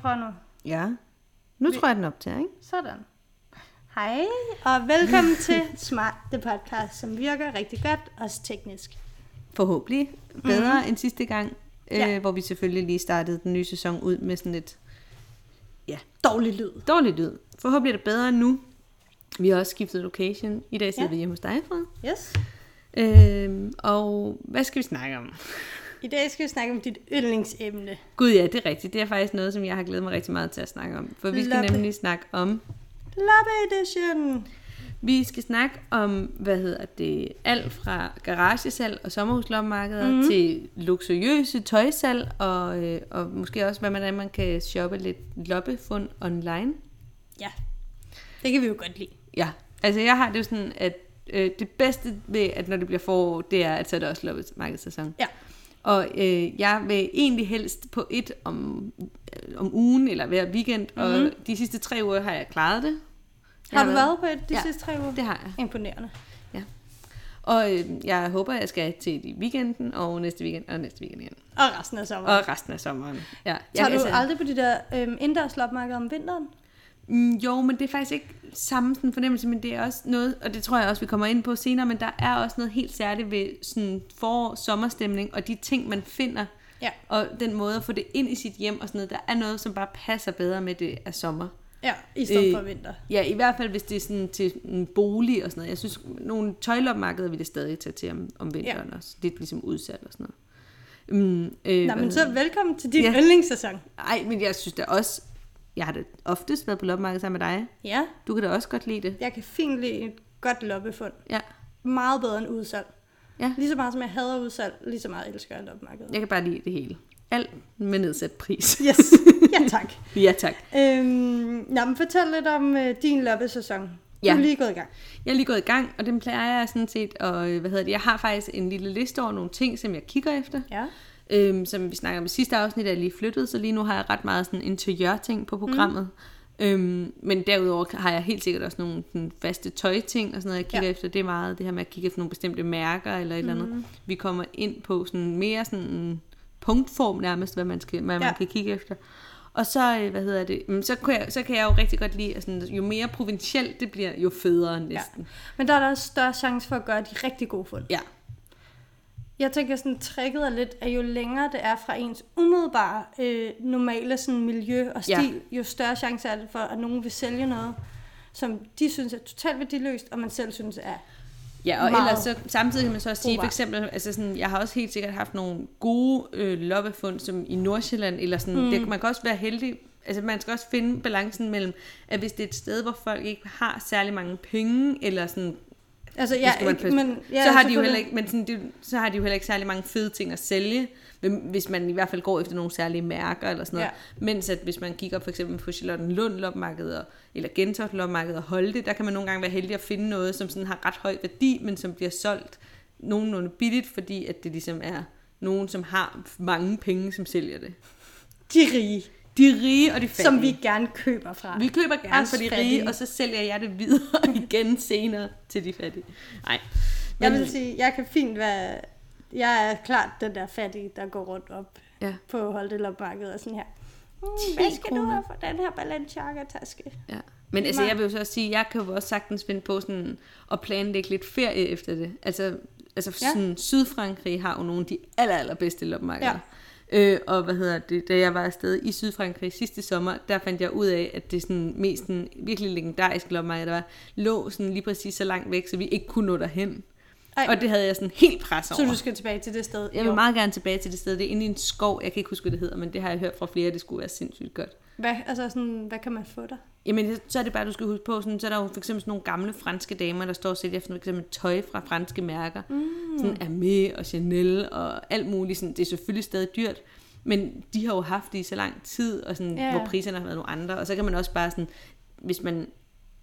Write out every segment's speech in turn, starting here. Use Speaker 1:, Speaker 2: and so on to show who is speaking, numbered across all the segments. Speaker 1: Prøv nu.
Speaker 2: Ja. Nu tror jeg, den optager, ikke?
Speaker 1: Sådan. Hej, og velkommen til Smart, det podcast, som virker rigtig godt, også teknisk.
Speaker 2: Forhåbentlig bedre mm-hmm. end sidste gang, øh,
Speaker 1: Ja.
Speaker 2: ja. hvor vi selvfølgelig lige startede den nye sæson ud med sådan lidt
Speaker 1: Dårlig lyd.
Speaker 2: dårlig lyd. Forhåbentlig er det bedre nu. Vi har også skiftet location. I dag sidder
Speaker 1: Ja.
Speaker 2: ja. vi hjemme hos dig, Fred.
Speaker 1: Yes.
Speaker 2: Øh, og hvad skal vi snakke om?
Speaker 1: I dag skal vi snakke om dit yndlingsemne.
Speaker 2: Gud ja, det er rigtigt. Det er faktisk noget, som jeg har glædet mig rigtig meget til at snakke om. For vi skal
Speaker 1: Loppe.
Speaker 2: nemlig snakke om
Speaker 1: Love edition.
Speaker 2: Vi skal snakke om, hvad hedder det, alt fra garagesalg og sommerhuslommarkeder mm. til luksuriøse tøjsalg, og, øh, og måske også, hvad man, hvordan man kan shoppe lidt loppefund online.
Speaker 1: Ja, det kan vi jo godt lide.
Speaker 2: Ja, altså jeg har det jo sådan, at øh, det bedste ved, at når det bliver forår, det er, at så er det også loppemarkedssæson.
Speaker 1: Ja.
Speaker 2: Og øh, jeg vil egentlig helst på et om, øh, om ugen eller hver weekend, mm. og de sidste tre uger har jeg klaret det. Jeg
Speaker 1: Har du været på et de
Speaker 2: Ja.
Speaker 1: sidste tre uger?
Speaker 2: Det har jeg.
Speaker 1: Imponerende.
Speaker 2: Og øh, jeg håber, jeg skal til i weekenden, og næste weekend, og næste weekend igen.
Speaker 1: Og altså- resten af sommeren.
Speaker 2: Og resten af sommeren. Ja, altså-
Speaker 1: Tager du aldrig på de der øhm, indendørs lopmarkeder om vinteren?
Speaker 2: Mm, jo, men det er faktisk ikke samme sådan fornemmelse, men det er også noget, og det tror jeg også, vi kommer ind på senere, men der er også noget helt særligt ved sådan forår, sommerstemning, og de ting, man finder,
Speaker 1: Ja.
Speaker 2: og den måde at få det ind i sit hjem og sådan noget, der er noget, som bare passer bedre med det af sommer.
Speaker 1: Ja, i stedet øh,
Speaker 2: Øh,
Speaker 1: for vinter.
Speaker 2: Ja, i hvert fald, hvis det er sådan til en bolig og sådan noget. Jeg synes, nogle tøjlopmarkeder vil det stadig tage til om, om vinteren ja. også. Lidt ligesom udsat og sådan noget. Mm, øh,
Speaker 1: Nej,
Speaker 2: hvad
Speaker 1: men så velkommen til din ja.
Speaker 2: Ja.
Speaker 1: yndlingssæson.
Speaker 2: Ej, men jeg synes da også, jeg har da oftest været på loppemarked sammen med dig.
Speaker 1: Ja,
Speaker 2: Du kan da også godt lide det.
Speaker 1: jeg kan fint lide et godt loppefund.
Speaker 2: Ja.
Speaker 1: Meget bedre end udsalg.
Speaker 2: Ja.
Speaker 1: Lige så meget som jeg hader udsalg, lige så meget elsker jeg lopmarkedet.
Speaker 2: Jeg kan bare lide det hele. Alt med nedsat pris.
Speaker 1: Yes, ja tak.
Speaker 2: ja, tak.
Speaker 1: øhm, nå, men fortæl lidt om øh, din loppesæson. Du
Speaker 2: Ja.
Speaker 1: er lige gået i gang.
Speaker 2: Jeg er lige gået i gang, og den plejer jeg sådan set, og øh, hvad hedder det, jeg har faktisk en lille liste over nogle ting, som jeg kigger efter.
Speaker 1: Ja.
Speaker 2: Øhm, som vi snakker om i sidste afsnit, er jeg lige flyttet, så lige nu har jeg ret meget sådan interiørting på programmet. Mm. Øhm, men derudover har jeg helt sikkert også nogle sådan, faste tøjting og sådan noget, jeg kigger
Speaker 1: Ja.
Speaker 2: ja. efter. Det er meget det her med at kigge efter nogle bestemte mærker eller et mm. eller andet. Vi kommer ind på sådan mere sådan en punktform nærmest, hvad man, skal, hvad ja.
Speaker 1: Ja.
Speaker 2: man kan kigge efter. Og så, øh, hvad hedder det, mm, så, kan jeg, så kan jeg jo rigtig godt lide, at sådan, jo mere provincielt det bliver, jo federe næsten.
Speaker 1: Men der er der også større chance for at gøre de rigtig gode fund.
Speaker 2: Ja.
Speaker 1: Jeg tænker sådan, tricket er lidt, at jo længere det er fra ens umiddelbare øh, normale sådan, miljø og
Speaker 2: Ja.
Speaker 1: stil, ja. jo større chance er det for, at nogen vil sælge noget, som de synes er totalt værdiløst, og man selv synes er.
Speaker 2: Ja, og
Speaker 1: meget
Speaker 2: ellers så, samtidig kan man så også sige,
Speaker 1: brugbar.
Speaker 2: for eksempel, altså sådan, jeg har også helt sikkert haft nogle gode øh, loppefund, som i Nordsjælland, eller sådan, mm. det, man kan også være heldig, altså man skal også finde balancen mellem, at hvis det er et sted, hvor folk ikke har særlig mange penge, eller sådan,
Speaker 1: Altså,
Speaker 2: det
Speaker 1: jeg,
Speaker 2: skal man
Speaker 1: ikke,
Speaker 2: passe-
Speaker 1: men,
Speaker 2: så har de jo
Speaker 1: selvfølgelig.
Speaker 2: heller ikke, men sådan, det, så har de jo heller ikke særlig mange fede ting at sælge, men hvis man i hvert fald går efter nogle særlige mærker eller sådan noget. Ja. Mens at hvis man kigger for eksempel på Charlottenlund lopmarked og- eller Gentoft lopmarked og Holte, der kan man nogle gange være heldig at finde noget, som sådan har ret høj værdi, men som bliver solgt nogenlunde billigt, fordi at det ligesom er nogen, som har mange penge, som sælger det.
Speaker 1: de rige,
Speaker 2: De er rige og de fattige.
Speaker 1: som vi gerne køber fra.
Speaker 2: Vi køber gerne
Speaker 1: Os
Speaker 2: for de
Speaker 1: fattige.
Speaker 2: rige, og så sælger jeg det videre igen senere til de fattige. Nej.
Speaker 1: Jeg vil sige, jeg kan fint være... Jeg er klart den der fattige, der går rundt op
Speaker 2: Ja.
Speaker 1: på Holdelopmarkedet og sådan her. Hmm,
Speaker 2: 10
Speaker 1: hvad skal du
Speaker 2: kroner."
Speaker 1: have for den her Balenciaga-taske?
Speaker 2: Ja. Men altså,
Speaker 1: meget-
Speaker 2: jeg vil jo så også sige, jeg kan jo også sagtens finde på sådan at planlægge lidt ferie efter det. Altså, altså
Speaker 1: Ja.
Speaker 2: ja. sådan, Sydfrankrig har jo nogle af de aller, allerbedste loppemarkeder.
Speaker 1: Ja.
Speaker 2: Ja. Øh, og hvad hedder det, da jeg var afsted i Sydfrankrig sidste sommer, der fandt jeg ud af, at det sådan mest sådan, virkelig legendariske loppemarked, der var, lå sådan lige præcis så langt væk, så vi ikke kunne nå derhen.
Speaker 1: Ej.
Speaker 2: Ej. Og det havde jeg sådan helt pres over.
Speaker 1: Så du skal tilbage til det sted?
Speaker 2: Jeg
Speaker 1: Jo.
Speaker 2: vil meget gerne tilbage til det sted. Det er inde i en skov. Jeg kan ikke huske, hvad det hedder, men det har jeg hørt fra flere, at det skulle være sindssygt godt.
Speaker 1: Hvad, altså sådan, hvad kan man få der?
Speaker 2: Jamen, så er det bare, du skal huske på, sådan, så er der jo for eksempel sådan nogle gamle franske damer, der står og sælger for eksempel tøj fra franske mærker. Mm. Sådan Amé og Chanel og alt muligt. Sådan, det er selvfølgelig stadig dyrt, men de har jo haft det i så lang tid, og sådan,
Speaker 1: Ja.
Speaker 2: yeah. hvor priserne har været nogle andre. Og så kan man også bare sådan, hvis man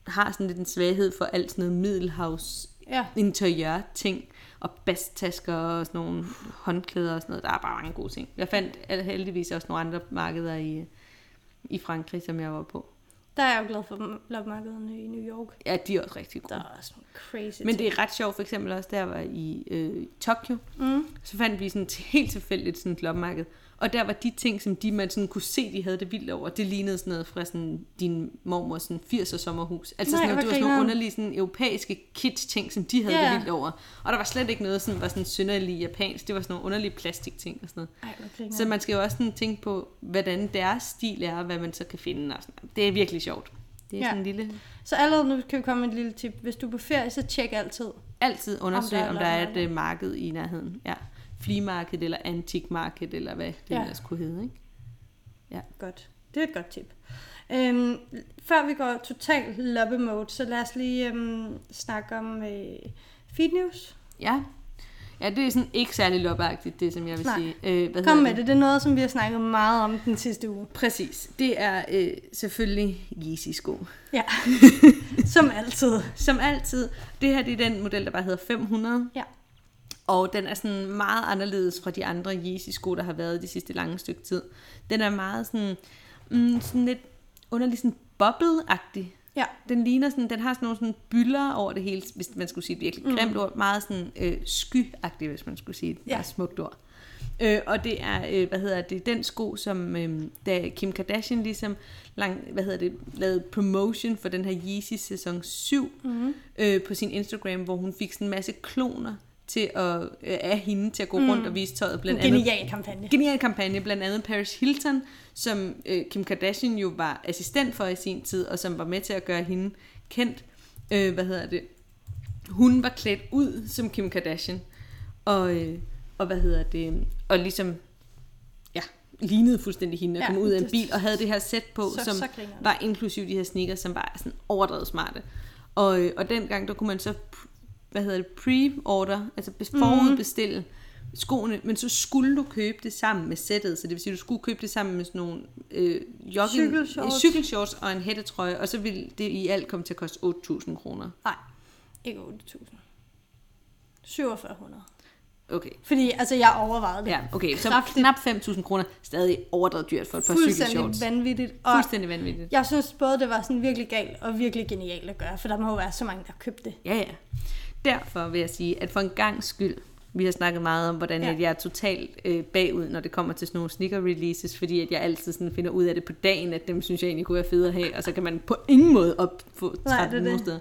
Speaker 2: har sådan lidt en svaghed for alt sådan noget middelhavs
Speaker 1: Ja.
Speaker 2: interiør ting og basttasker og sådan nogle håndklæder og sådan noget. Der er bare mange gode ting. Jeg fandt heldigvis også nogle andre markeder i, i Frankrig, som jeg var på.
Speaker 1: Der er jeg jo glad for lopmarkederne i New York.
Speaker 2: Ja, de er også rigtig
Speaker 1: Der
Speaker 2: gode.
Speaker 1: er også nogle crazy
Speaker 2: Men det
Speaker 1: ting.
Speaker 2: er ret sjovt, for eksempel også, der var i øh, Tokyo, mm. så fandt vi sådan t- helt tilfældigt sådan et lopmarked, Og der var de ting, som de man sådan kunne se, de havde det vildt over, det lignede sådan noget fra sådan, din mormors sådan 80'er sommerhus. Altså
Speaker 1: Nej,
Speaker 2: sådan noget,
Speaker 1: hvor
Speaker 2: det var sådan nogle
Speaker 1: grineren.
Speaker 2: underlige sådan, europæiske kitsch-ting, som de havde
Speaker 1: Ja.
Speaker 2: det vildt over. Og der var slet ikke noget, som var sådan synderlig japansk. Det var sådan nogle underlige plastikting og sådan noget.
Speaker 1: Ej, hvor griner.
Speaker 2: Så man skal jo også sådan tænke på, hvordan deres stil er, og hvad man så kan finde. Og sådan. noget. Det er virkelig sjovt. Det er
Speaker 1: Ja.
Speaker 2: ja. sådan en lille...
Speaker 1: Så allerede nu kan vi komme med et lille tip. Hvis du er på ferie, så tjek altid.
Speaker 2: Altid undersøge,
Speaker 1: Om der er
Speaker 2: om der, om der er et
Speaker 1: noget.
Speaker 2: øh, marked i nærheden. Ja. Flimarked eller antikmarked, eller hvad det
Speaker 1: Ja.
Speaker 2: ja. ellers kunne hedde. Ikke?
Speaker 1: Godt. Det er et godt tip. Øhm, før vi går totalt loppe mode, så lad os lige øhm, snakke om øh, feed news.
Speaker 2: Ja. Ja, det er sådan ikke særlig loppeagtigt, det som jeg vil
Speaker 1: Nej.
Speaker 2: sige. Øh, hvad
Speaker 1: Kom
Speaker 2: hedder
Speaker 1: med det. Det er noget, som vi har snakket meget om den sidste uge.
Speaker 2: Præcis. Det er øh, selvfølgelig Yeezy-sko.
Speaker 1: Ja. som altid.
Speaker 2: Som altid. Det her det er den model, der bare hedder 500.
Speaker 1: Ja.
Speaker 2: Og den er sådan meget anderledes fra de andre Yeezy-sko, der har været de sidste lange stykke tid. Den er meget sådan, mm, sådan lidt underlig sådan bobbleagtig.
Speaker 1: Ja.
Speaker 2: Den ligner sådan, den har sådan nogle sådan byller over det hele, hvis man skulle sige et virkelig grimt ord. Meget sådan øh, skyagtig, hvis man skulle sige et
Speaker 1: Ja.
Speaker 2: ja. smukt ord. Øh, og det er, øh, hvad hedder det, den sko, som øh, da Kim Kardashian ligesom lang, hvad hedder det, lavede promotion for den her Yeezy sæson 7 mm-hmm. øh, på sin Instagram, hvor hun fik sådan en masse kloner til at, øh, af hende til at gå mm. rundt og vise tøjet. Blandt andet
Speaker 1: Genial kampagne.
Speaker 2: genial kampagne, blandt andet Paris Hilton, som øh, Kim Kardashian jo var assistent for i sin tid, og som var med til at gøre hende kendt. Øh, hvad hedder det? Hun var klædt ud som Kim Kardashian, og, øh, og hvad hedder det? Og ligesom, ja, lignede fuldstændig hende, og
Speaker 1: Ja,
Speaker 2: ja, kom ud af en
Speaker 1: det-
Speaker 2: bil, og havde det her sæt på,
Speaker 1: Så-
Speaker 2: som
Speaker 1: så grineren.
Speaker 2: var inklusiv de her sneakers, som var sådan overdrevet smarte. Og, øh, og dengang, der kunne man så, p- hvad hedder det, pre-order, altså be-
Speaker 1: Mhm.
Speaker 2: forudbestille skoene, men så skulle du købe det sammen med sættet, så det vil sige, du skulle købe det sammen med sådan nogle øh, jogging,
Speaker 1: Cykelshorts.
Speaker 2: øh, cykelshorts og en hættetrøje, og så ville det i alt komme til at koste 8.000 kroner.
Speaker 1: Nej, ikke 8.000. 4700.
Speaker 2: Okay.
Speaker 1: Fordi altså, jeg overvejede det.
Speaker 2: Ja, okay, så
Speaker 1: Kraftigt.
Speaker 2: knap 5.000 kroner, stadig overdrevet dyrt for et par cykelshorts.
Speaker 1: Fuldstændig vanvittigt. Og
Speaker 2: Fuldstændig vanvittigt.
Speaker 1: jeg synes både, det var sådan virkelig galt og virkelig genialt at gøre, for der må jo være så mange, der har købt det.
Speaker 2: Ja, ja. Derfor vil jeg sige, at for en gang skyld, vi har snakket meget om, hvordan
Speaker 1: Ja.
Speaker 2: ja. at jeg er totalt øh, bagud, når det kommer til sådan nogle sneaker-releases, fordi at jeg altid sådan finder ud af det på dagen, at dem synes jeg egentlig kunne være fede at have, og så kan man på ingen måde op få
Speaker 1: Nej, det er
Speaker 2: 13 nogen
Speaker 1: det.
Speaker 2: steder.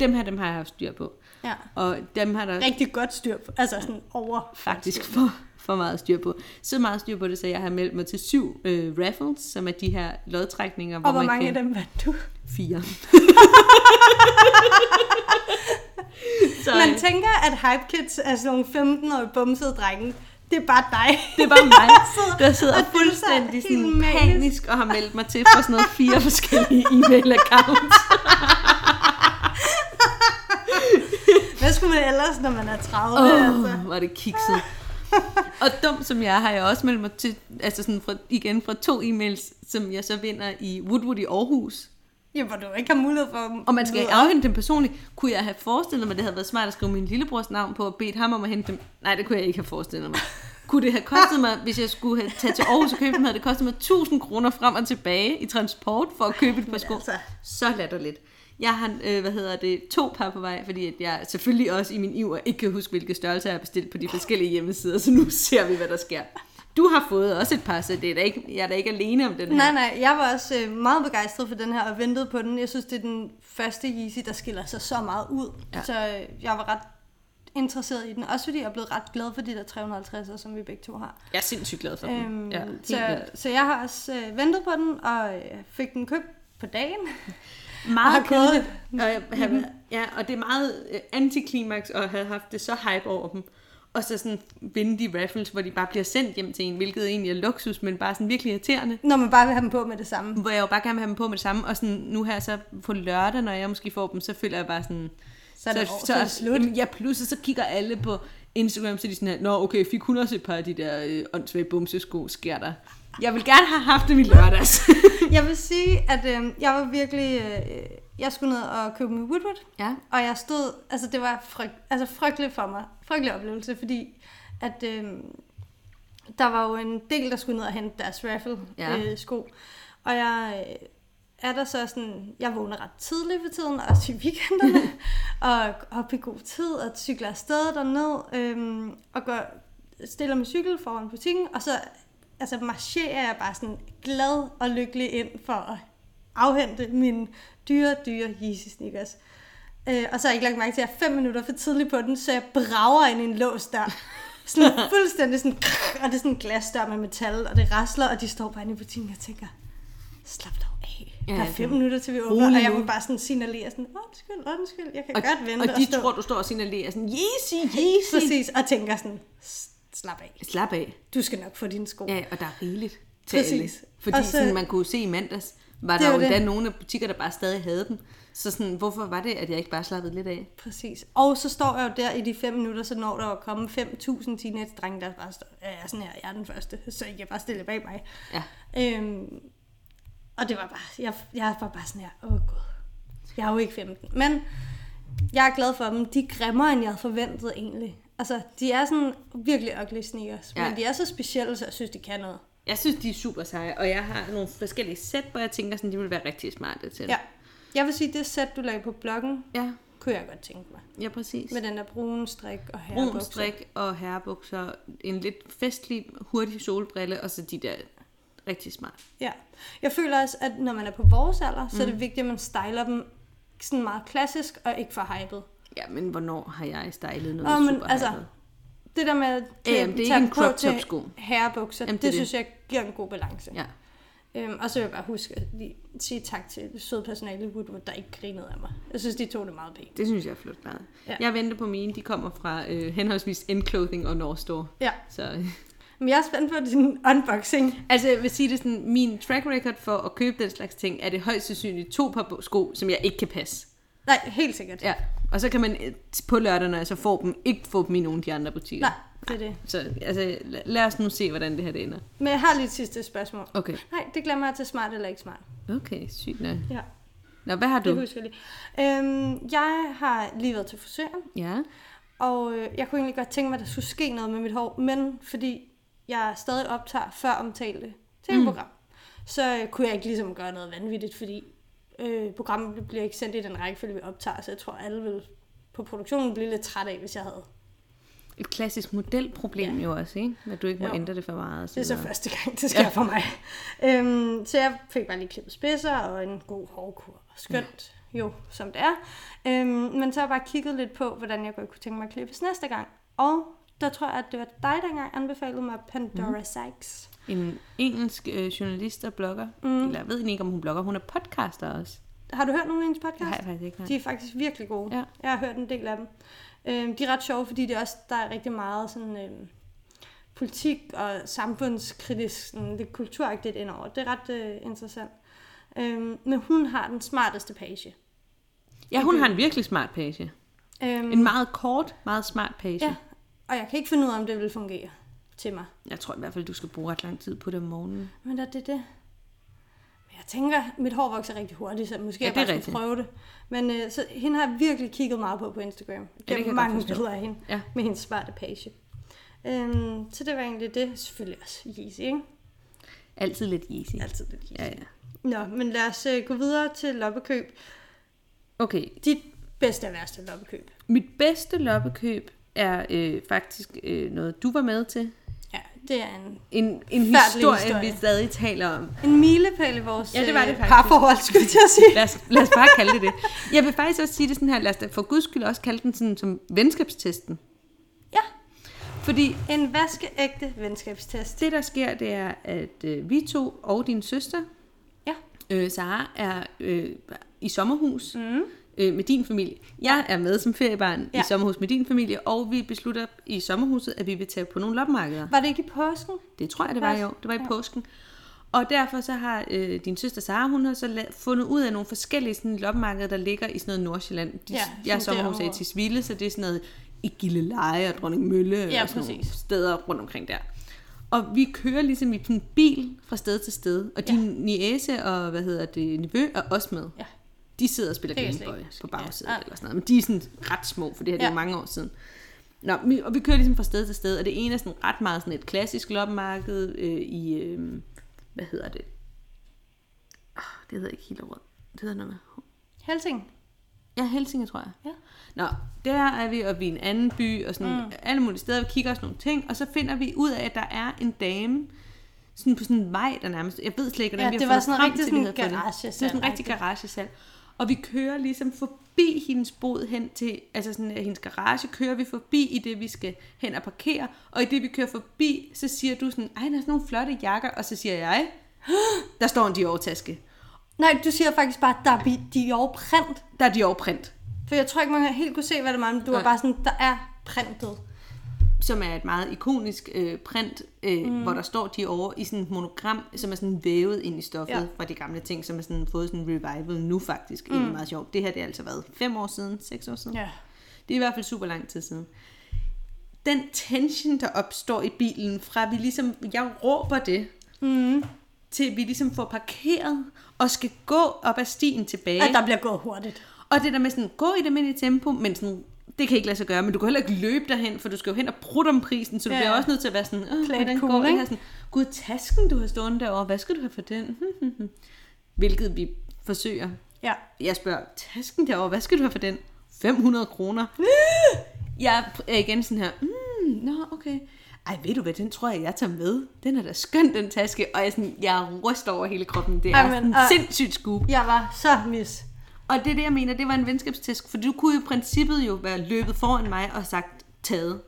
Speaker 2: Dem her, dem har jeg haft styr på.
Speaker 1: Ja.
Speaker 2: Og dem har der
Speaker 1: Rigtig godt styr på. Altså sådan over.
Speaker 2: faktisk for, for meget styr på. Så meget styr på det, så jeg har meldt mig til syv øh, raffles, som er de her lodtrækninger, hvor,
Speaker 1: Og hvor
Speaker 2: man
Speaker 1: mange
Speaker 2: kan...
Speaker 1: af dem vandt du?
Speaker 2: Fire. så,
Speaker 1: Man tænker, at Hype Kids er sådan nogle 15-årige bumsede drenge. Det er bare dig.
Speaker 2: Det var mig,
Speaker 1: sidder
Speaker 2: der sidder
Speaker 1: og fylder sig
Speaker 2: fuldstændig
Speaker 1: helt
Speaker 2: sådan
Speaker 1: manisk.
Speaker 2: panisk og har meldt mig til for sådan noget fire forskellige e-mail-accounts.
Speaker 1: Hvad skulle man ellers, når man er 30? Oh. Altså?
Speaker 2: Åh, oh, var det kikset. Og dum som jeg er, har jeg også meldt mig til, altså sådan fra, igen fra to e-mails, som jeg så vinder i Woodwood i Aarhus.
Speaker 1: Ja, hvor du ikke har mulighed for at
Speaker 2: Og man skal
Speaker 1: møde op.
Speaker 2: afhente dem personligt. Kunne jeg have forestillet mig, det havde været smart at skrive min lillebrors navn på og bedt ham om at hente dem? Nej, det kunne jeg ikke have forestillet mig. Kunne det have kostet mig, hvis jeg skulle have taget til Aarhus og købe dem, havde det kostet mig 1000 kroner frem og tilbage i transport for at købe et par sko.
Speaker 1: altså.
Speaker 2: Så latterligt. Jeg har, øh, hvad hedder det, to par på vej, fordi at jeg selvfølgelig også i min iver ikke kan huske, hvilke størrelser jeg har bestilt på de forskellige hjemmesider, så nu ser vi, hvad der sker. Du har fået også et par, så det er da ikke, jeg er da ikke alene om den her.
Speaker 1: Nej, nej, jeg var også øh, meget begejstret for den her og ventede på den. Jeg synes, det er den første Yeezy, der skiller sig så meget ud. Ja.
Speaker 2: Ja.
Speaker 1: Så øh, jeg var ret interesseret i den. Også fordi jeg er blevet ret glad for de der 350'er, som vi begge to har.
Speaker 2: Jeg er sindssygt glad for dem.
Speaker 1: Øhm,
Speaker 2: ja,
Speaker 1: ja,
Speaker 2: helt
Speaker 1: så,
Speaker 2: vildt.
Speaker 1: så jeg har også øh, ventet på den, og øh, fik den købt på dagen.
Speaker 2: meget
Speaker 1: Og har gået
Speaker 2: kedeligt. Og, jeg
Speaker 1: Mm.
Speaker 2: havde, ja, og det er meget øh, antiklimaks at have haft det så hype over dem. Og så sådan vinde de raffles, hvor de bare bliver sendt hjem til en, hvilket egentlig er luksus, men bare sådan virkelig irriterende.
Speaker 1: Når man bare vil have dem på med det samme.
Speaker 2: Hvor jeg jo bare gerne vil have dem på med det samme, og sådan nu her så på lørdag, når jeg måske får dem, så føler jeg bare sådan...
Speaker 1: Så er det over, så er det slut.
Speaker 2: Jamen, ja, pludselig så kigger alle på Instagram, så er de sådan her, Nå, okay, fik hun også et par af de der øh, åndssvage bumsesko, sker der. Jeg vil gerne have haft dem i lørdags.
Speaker 1: Jeg vil sige, at øh, jeg var virkelig... Øh, jeg skulle ned og købe min Woodwood,
Speaker 2: ja.
Speaker 1: og jeg stod... Altså, det var fryg, altså, frygteligt for mig. Frygtelig oplevelse, fordi at... Øh, der var jo en del, der skulle ned og hente deres raffle-sko.
Speaker 2: Ja.
Speaker 1: Øh, sko. og jeg øh, er der så sådan... Jeg vågner ret tidligt for tiden, også i weekenderne, og går op i god tid, og cykler øhm, afsted derned, øh, og går, stiller min cykel foran butikken, og så altså marcherer jeg bare sådan glad og lykkelig ind for at afhente mine dyre, dyre Yeezy sneakers. Øh, og så har jeg ikke lagt mærke til, at jeg er fem minutter for tidlig på den, så jeg brager ind i en lås der. Sådan fuldstændig sådan, og det er sådan en glasdør med metal, og det rasler, og de står bare inde i butikken, og jeg tænker, slap dog af.
Speaker 2: Ja,
Speaker 1: Ja, der er
Speaker 2: altså,
Speaker 1: fem minutter til vi åbner,
Speaker 2: rolig
Speaker 1: og jeg
Speaker 2: nu.
Speaker 1: må bare sådan signalere sådan, undskyld, undskyld, jeg kan
Speaker 2: Og,
Speaker 1: godt vente
Speaker 2: og de
Speaker 1: stå.
Speaker 2: tror, du står og signalerer sådan, Yeezy,
Speaker 1: Easy.
Speaker 2: Yeezy.
Speaker 1: Præcis, og tænker sådan, "S- slap af.
Speaker 2: Slap af.
Speaker 1: Du skal nok få dine sko.
Speaker 2: Ja, og der er rigeligt til
Speaker 1: Præcis.
Speaker 2: alle. Fordi
Speaker 1: Og
Speaker 2: så,
Speaker 1: så-
Speaker 2: sådan, man kunne jo se i mandags, var
Speaker 1: Det
Speaker 2: der
Speaker 1: er
Speaker 2: jo
Speaker 1: jo det.
Speaker 2: endda nogle af butikker, der bare stadig havde dem. Så sådan, hvorfor var det, at jeg ikke bare slappede lidt af?
Speaker 1: Præcis. Og så står jeg jo der i de fem minutter, så når der jo komme 5.000 teenage-drenge, der bare står, ja, jeg er sådan her, jeg er den første, så I kan bare stille jer bag mig.
Speaker 2: Ja.
Speaker 1: Øhm, og det var bare, jeg, jeg var bare sådan her, åh gud, jeg er jo ikke 15. Men jeg er glad for dem, de er grimmere, end jeg havde forventet egentlig. Altså, de er sådan virkelig ugly sneakers, ja.
Speaker 2: Ja.
Speaker 1: men de er så specielle, så jeg synes, de kan noget.
Speaker 2: Jeg synes, de er super seje, og jeg har nogle forskellige sæt, hvor jeg tænker, sådan, de ville være rigtig smarte til.
Speaker 1: Ja. Jeg vil sige, det sæt, du lagde på bloggen,
Speaker 2: Ja,
Speaker 1: kunne jeg godt tænke mig.
Speaker 2: ja præcis.
Speaker 1: Med den der brune strik og herrebukser.
Speaker 2: Brun strik og herrebukser, en lidt festlig, hurtig solbrille, og så de der rigtig smart.
Speaker 1: Ja. Jeg føler også, at når man er på vores alder, så er
Speaker 2: Mm.
Speaker 1: det vigtigt, at man styler dem sådan meget klassisk og ikke for hypet.
Speaker 2: Ja, men hvornår har jeg stylet noget
Speaker 1: Åh, men
Speaker 2: super
Speaker 1: altså, Det der med at
Speaker 2: Ja, jamen, Øhm, det
Speaker 1: tage
Speaker 2: er ikke
Speaker 1: dem
Speaker 2: en
Speaker 1: på
Speaker 2: crop
Speaker 1: til
Speaker 2: top-sko.
Speaker 1: herrebukser,
Speaker 2: Jamen,
Speaker 1: jamen,
Speaker 2: det er
Speaker 1: det, det
Speaker 2: det.
Speaker 1: synes jeg giver en god balance.
Speaker 2: Ja.
Speaker 1: Øhm, og så vil jeg bare huske at lige sige tak til det søde personale i Woodwood, der ikke grinede af mig. Jeg synes, de tog det meget pænt.
Speaker 2: Det synes jeg er flot klaret. Ja.
Speaker 1: Ja.
Speaker 2: Jeg venter på mine. De kommer fra øh, henholdsvis Enclothing og North Store.
Speaker 1: Ja,
Speaker 2: Så, øh.
Speaker 1: men jeg er spændt på din unboxing.
Speaker 2: Altså jeg vil sige det sådan, min track record for at købe den slags ting, er det højst sandsynligt to par sko, som jeg ikke kan passe.
Speaker 1: Nej, helt sikkert.
Speaker 2: Ja. Og så kan man øh, på lørdag, når jeg så får dem, ikke få dem i nogen af de andre butikker.
Speaker 1: Nej, det er det.
Speaker 2: Så altså, la- lad os nu se, hvordan det her det ender.
Speaker 1: Men jeg har lige et sidste spørgsmål.
Speaker 2: Okay.
Speaker 1: Nej, det glemmer jeg til smart eller ikke smart.
Speaker 2: Okay, sygt nok.
Speaker 1: Ja,
Speaker 2: Nå, hvad har
Speaker 1: det
Speaker 2: du?
Speaker 1: husker jeg lige. Øhm, jeg har lige været til frisøren,
Speaker 2: Ja.
Speaker 1: Og øh, jeg kunne egentlig godt tænke mig, at der skulle ske noget med mit hår, men fordi jeg stadig optager før omtalte tv-program, mm. så øh, kunne jeg ikke ligesom gøre noget vanvittigt, fordi øh, programmet bliver ikke sendt i den rækkefølge, vi optager, så jeg tror, alle vil på produktionen blive lidt træt af, hvis jeg havde.
Speaker 2: Et klassisk modelproblem ja. jo også, ikke? At du ikke må jo.
Speaker 1: Jo.
Speaker 2: ændre det for meget. og
Speaker 1: Det er så
Speaker 2: videre.
Speaker 1: første gang, det sker ja. for mig. Øhm, så jeg fik bare lige klippet spidser og en god hårkur. Skønt, ja. jo, som det er. Øhm, men så har jeg bare kigget lidt på, hvordan jeg godt kunne tænke mig at klippes næste gang. Og der tror jeg, at det var dig, der engang anbefalede mig Pandora mm. Sykes.
Speaker 2: En engelsk øh, journalist og blogger. Mm. Eller jeg ved ikke, om hun blogger. Hun er podcaster også.
Speaker 1: Har du hørt nogen af hendes
Speaker 2: Det har
Speaker 1: podcast?
Speaker 2: jeg faktisk ikke. Nej.
Speaker 1: De er faktisk virkelig gode.
Speaker 2: Ja.
Speaker 1: Jeg har hørt en del af dem. Øhm, de er ret sjove, fordi det er også, der er rigtig meget sådan, øhm, politik og samfundskritisk, sådan lidt kulturagtigt indover. Det er ret øh, interessant. Øhm, men hun har den smarteste page.
Speaker 2: Ja, hun har en virkelig smart page.
Speaker 1: Øhm,
Speaker 2: En meget kort, meget smart page.
Speaker 1: ja, og jeg kan ikke finde ud af, om det vil fungere til mig.
Speaker 2: Jeg tror i hvert fald, du skal bruge ret lang tid på det om morgenen.
Speaker 1: Men er det det? Men jeg tænker, mit hår vokser rigtig hurtigt, så måske
Speaker 2: Ja,
Speaker 1: ja, jeg
Speaker 2: det er
Speaker 1: bare skulle
Speaker 2: rigtigt.
Speaker 1: prøve det. Men øh, så hende har jeg virkelig kigget meget på på Instagram.
Speaker 2: kan
Speaker 1: Ja,
Speaker 2: jeg
Speaker 1: det
Speaker 2: godt
Speaker 1: er mange
Speaker 2: forstå.
Speaker 1: billeder af hende
Speaker 2: Ja.
Speaker 1: med hendes smarte page. Øhm, så det var egentlig det. Selvfølgelig også Yeezy, ikke?
Speaker 2: Altid lidt easy.
Speaker 1: Altid lidt Yeezy.
Speaker 2: Ja, ja.
Speaker 1: Nå, men lad os øh, gå videre til loppekøb.
Speaker 2: Okay,
Speaker 1: Dit bedste og værste loppekøb.
Speaker 2: mit bedste loppekøb er øh, faktisk øh, noget, du var med til.
Speaker 1: Ja, det er en,
Speaker 2: En, en historie,
Speaker 1: Forfærdelig
Speaker 2: historie, vi
Speaker 1: historie.
Speaker 2: stadig taler om.
Speaker 1: en milepæl i vores
Speaker 2: Ja, det var det
Speaker 1: øh,
Speaker 2: faktisk.
Speaker 1: parforhold, skulle jeg til at sige.
Speaker 2: Lad os, lad os bare kalde det det. Jeg vil faktisk også sige det sådan her, lad os da for guds skyld også kalde den sådan som venskabstesten.
Speaker 1: Ja,
Speaker 2: Fordi
Speaker 1: en vaskeægte venskabstest.
Speaker 2: Altså, det, der sker, det er, at øh, vi to og din søster,
Speaker 1: Ja,
Speaker 2: øh, Sara, er øh, i sommerhus mm. øh, med din familie. Jeg er med som feriebarn ja. i
Speaker 1: Ja.
Speaker 2: sommerhus med din familie, og vi beslutter i sommerhuset, at vi vil tage på nogle loppemarkeder.
Speaker 1: var det ikke i påsken?
Speaker 2: Det tror jeg, det var i år. Det var i påsken. Og derfor så har øh, din søster Sara, hun har så la- fundet ud af nogle forskellige sådan, loppemarkeder, der ligger i sådan noget Nordsjælland. De,
Speaker 1: Ja,
Speaker 2: jeg er
Speaker 1: sådan
Speaker 2: sommerhus i
Speaker 1: derovre.
Speaker 2: Tisvilde, så det er sådan noget i Gilleleje og Dronning Mølle
Speaker 1: Ja,
Speaker 2: og sådan nogle
Speaker 1: præcis.
Speaker 2: steder rundt omkring der. Og vi kører ligesom i sådan en bil fra sted til sted, og din ja. niæse og, hvad hedder det, nevø er også med.
Speaker 1: Ja.
Speaker 2: De sidder og spiller
Speaker 1: Det kan jeg slet
Speaker 2: Gameboy
Speaker 1: ikke huske.
Speaker 2: på bagsædet
Speaker 1: Ja.
Speaker 2: ja. eller sådan noget, men de er sådan ret små, for det her det er jo
Speaker 1: Ja.
Speaker 2: mange år siden. Nå, vi, og vi kører ligesom fra sted til sted, og det ene er sådan ret meget sådan et klassisk loppemarked øh, i, øh, hvad hedder det? Oh, det hedder ikke Hillerød. Det hedder noget med...
Speaker 1: Helsing.
Speaker 2: Ja, Helsinge, tror jeg.
Speaker 1: Ja.
Speaker 2: Nå, der er vi, og vi er en anden by, og sådan mm. alle mulige steder, vi kigger os nogle ting, og så finder vi ud af, at der er en dame, sådan på sådan en vej, der nærmest... Jeg ved slet ikke, hvordan
Speaker 1: Ja,
Speaker 2: vi har
Speaker 1: det var sådan
Speaker 2: fundet frem
Speaker 1: rigtig
Speaker 2: til, vi
Speaker 1: sådan
Speaker 2: havde fundet.
Speaker 1: garagesalg,
Speaker 2: Det var sådan en rigtig garagesal. Og vi kører ligesom forbi hendes bod hen til, altså sådan øh, hendes garage, kører vi forbi i det, vi skal hen og parkere. Og i det, vi kører forbi, så siger du sådan, ej, der er sådan nogle flotte jakker. Og så siger jeg, der står en Dior-taske.
Speaker 1: Nej, du siger faktisk bare, der er bi- Dior print.
Speaker 2: Der er Dior-print,
Speaker 1: For jeg tror ikke, man helt kunne se, hvad det var, men du var
Speaker 2: Nej.
Speaker 1: bare sådan, der er printet.
Speaker 2: som er et meget ikonisk øh, print, øh, mm. hvor der står Dior i sådan et monogram, som er sådan vævet ind i stoffet
Speaker 1: Ja.
Speaker 2: ja. fra de gamle ting, som er sådan fået sådan en revival nu faktisk. Mm. Det er meget sjovt. Det her det er altså været fem år siden, seks år siden.
Speaker 1: Ja.
Speaker 2: Det er i hvert fald super lang tid siden. Den tension, der opstår i bilen, fra vi ligesom, jeg råber det, mm. til vi ligesom får parkeret, og skal gå op ad stien tilbage.
Speaker 1: At der bliver gået hurtigt.
Speaker 2: Og det der med sådan, gå i det almindelige tempo, men sådan, det kan ikke lade sig gøre, men du kan heller ikke løbe derhen, for du skal jo hen og prutte om prisen, så du
Speaker 1: Ja,
Speaker 2: ja.
Speaker 1: ja.
Speaker 2: bliver også nødt til at være sådan, Åh,
Speaker 1: Play it
Speaker 2: hvordan
Speaker 1: cool,
Speaker 2: cool, går det
Speaker 1: ikke?
Speaker 2: her? Sådan, Gud, tasken du har stående derovre, hvad skal du have for den? Hvilket vi forsøger.
Speaker 1: Ja.
Speaker 2: Jeg spørger, tasken derovre, hvad skal du have for den? 500 kroner. Jeg er igen sådan her, mm, nå, okay. Ej, ved du hvad, den tror jeg, jeg tager med. Den er da skøn, den taske. Og jeg, er sådan, jeg ryster over hele kroppen. Det er
Speaker 1: Ej, men,
Speaker 2: sådan en
Speaker 1: og-
Speaker 2: sindssygt scoop.
Speaker 1: Jeg var så mis.
Speaker 2: Og det er det, jeg mener, det var en venskabstæsk, for du kunne jo i princippet jo være løbet foran mig og sagt taget.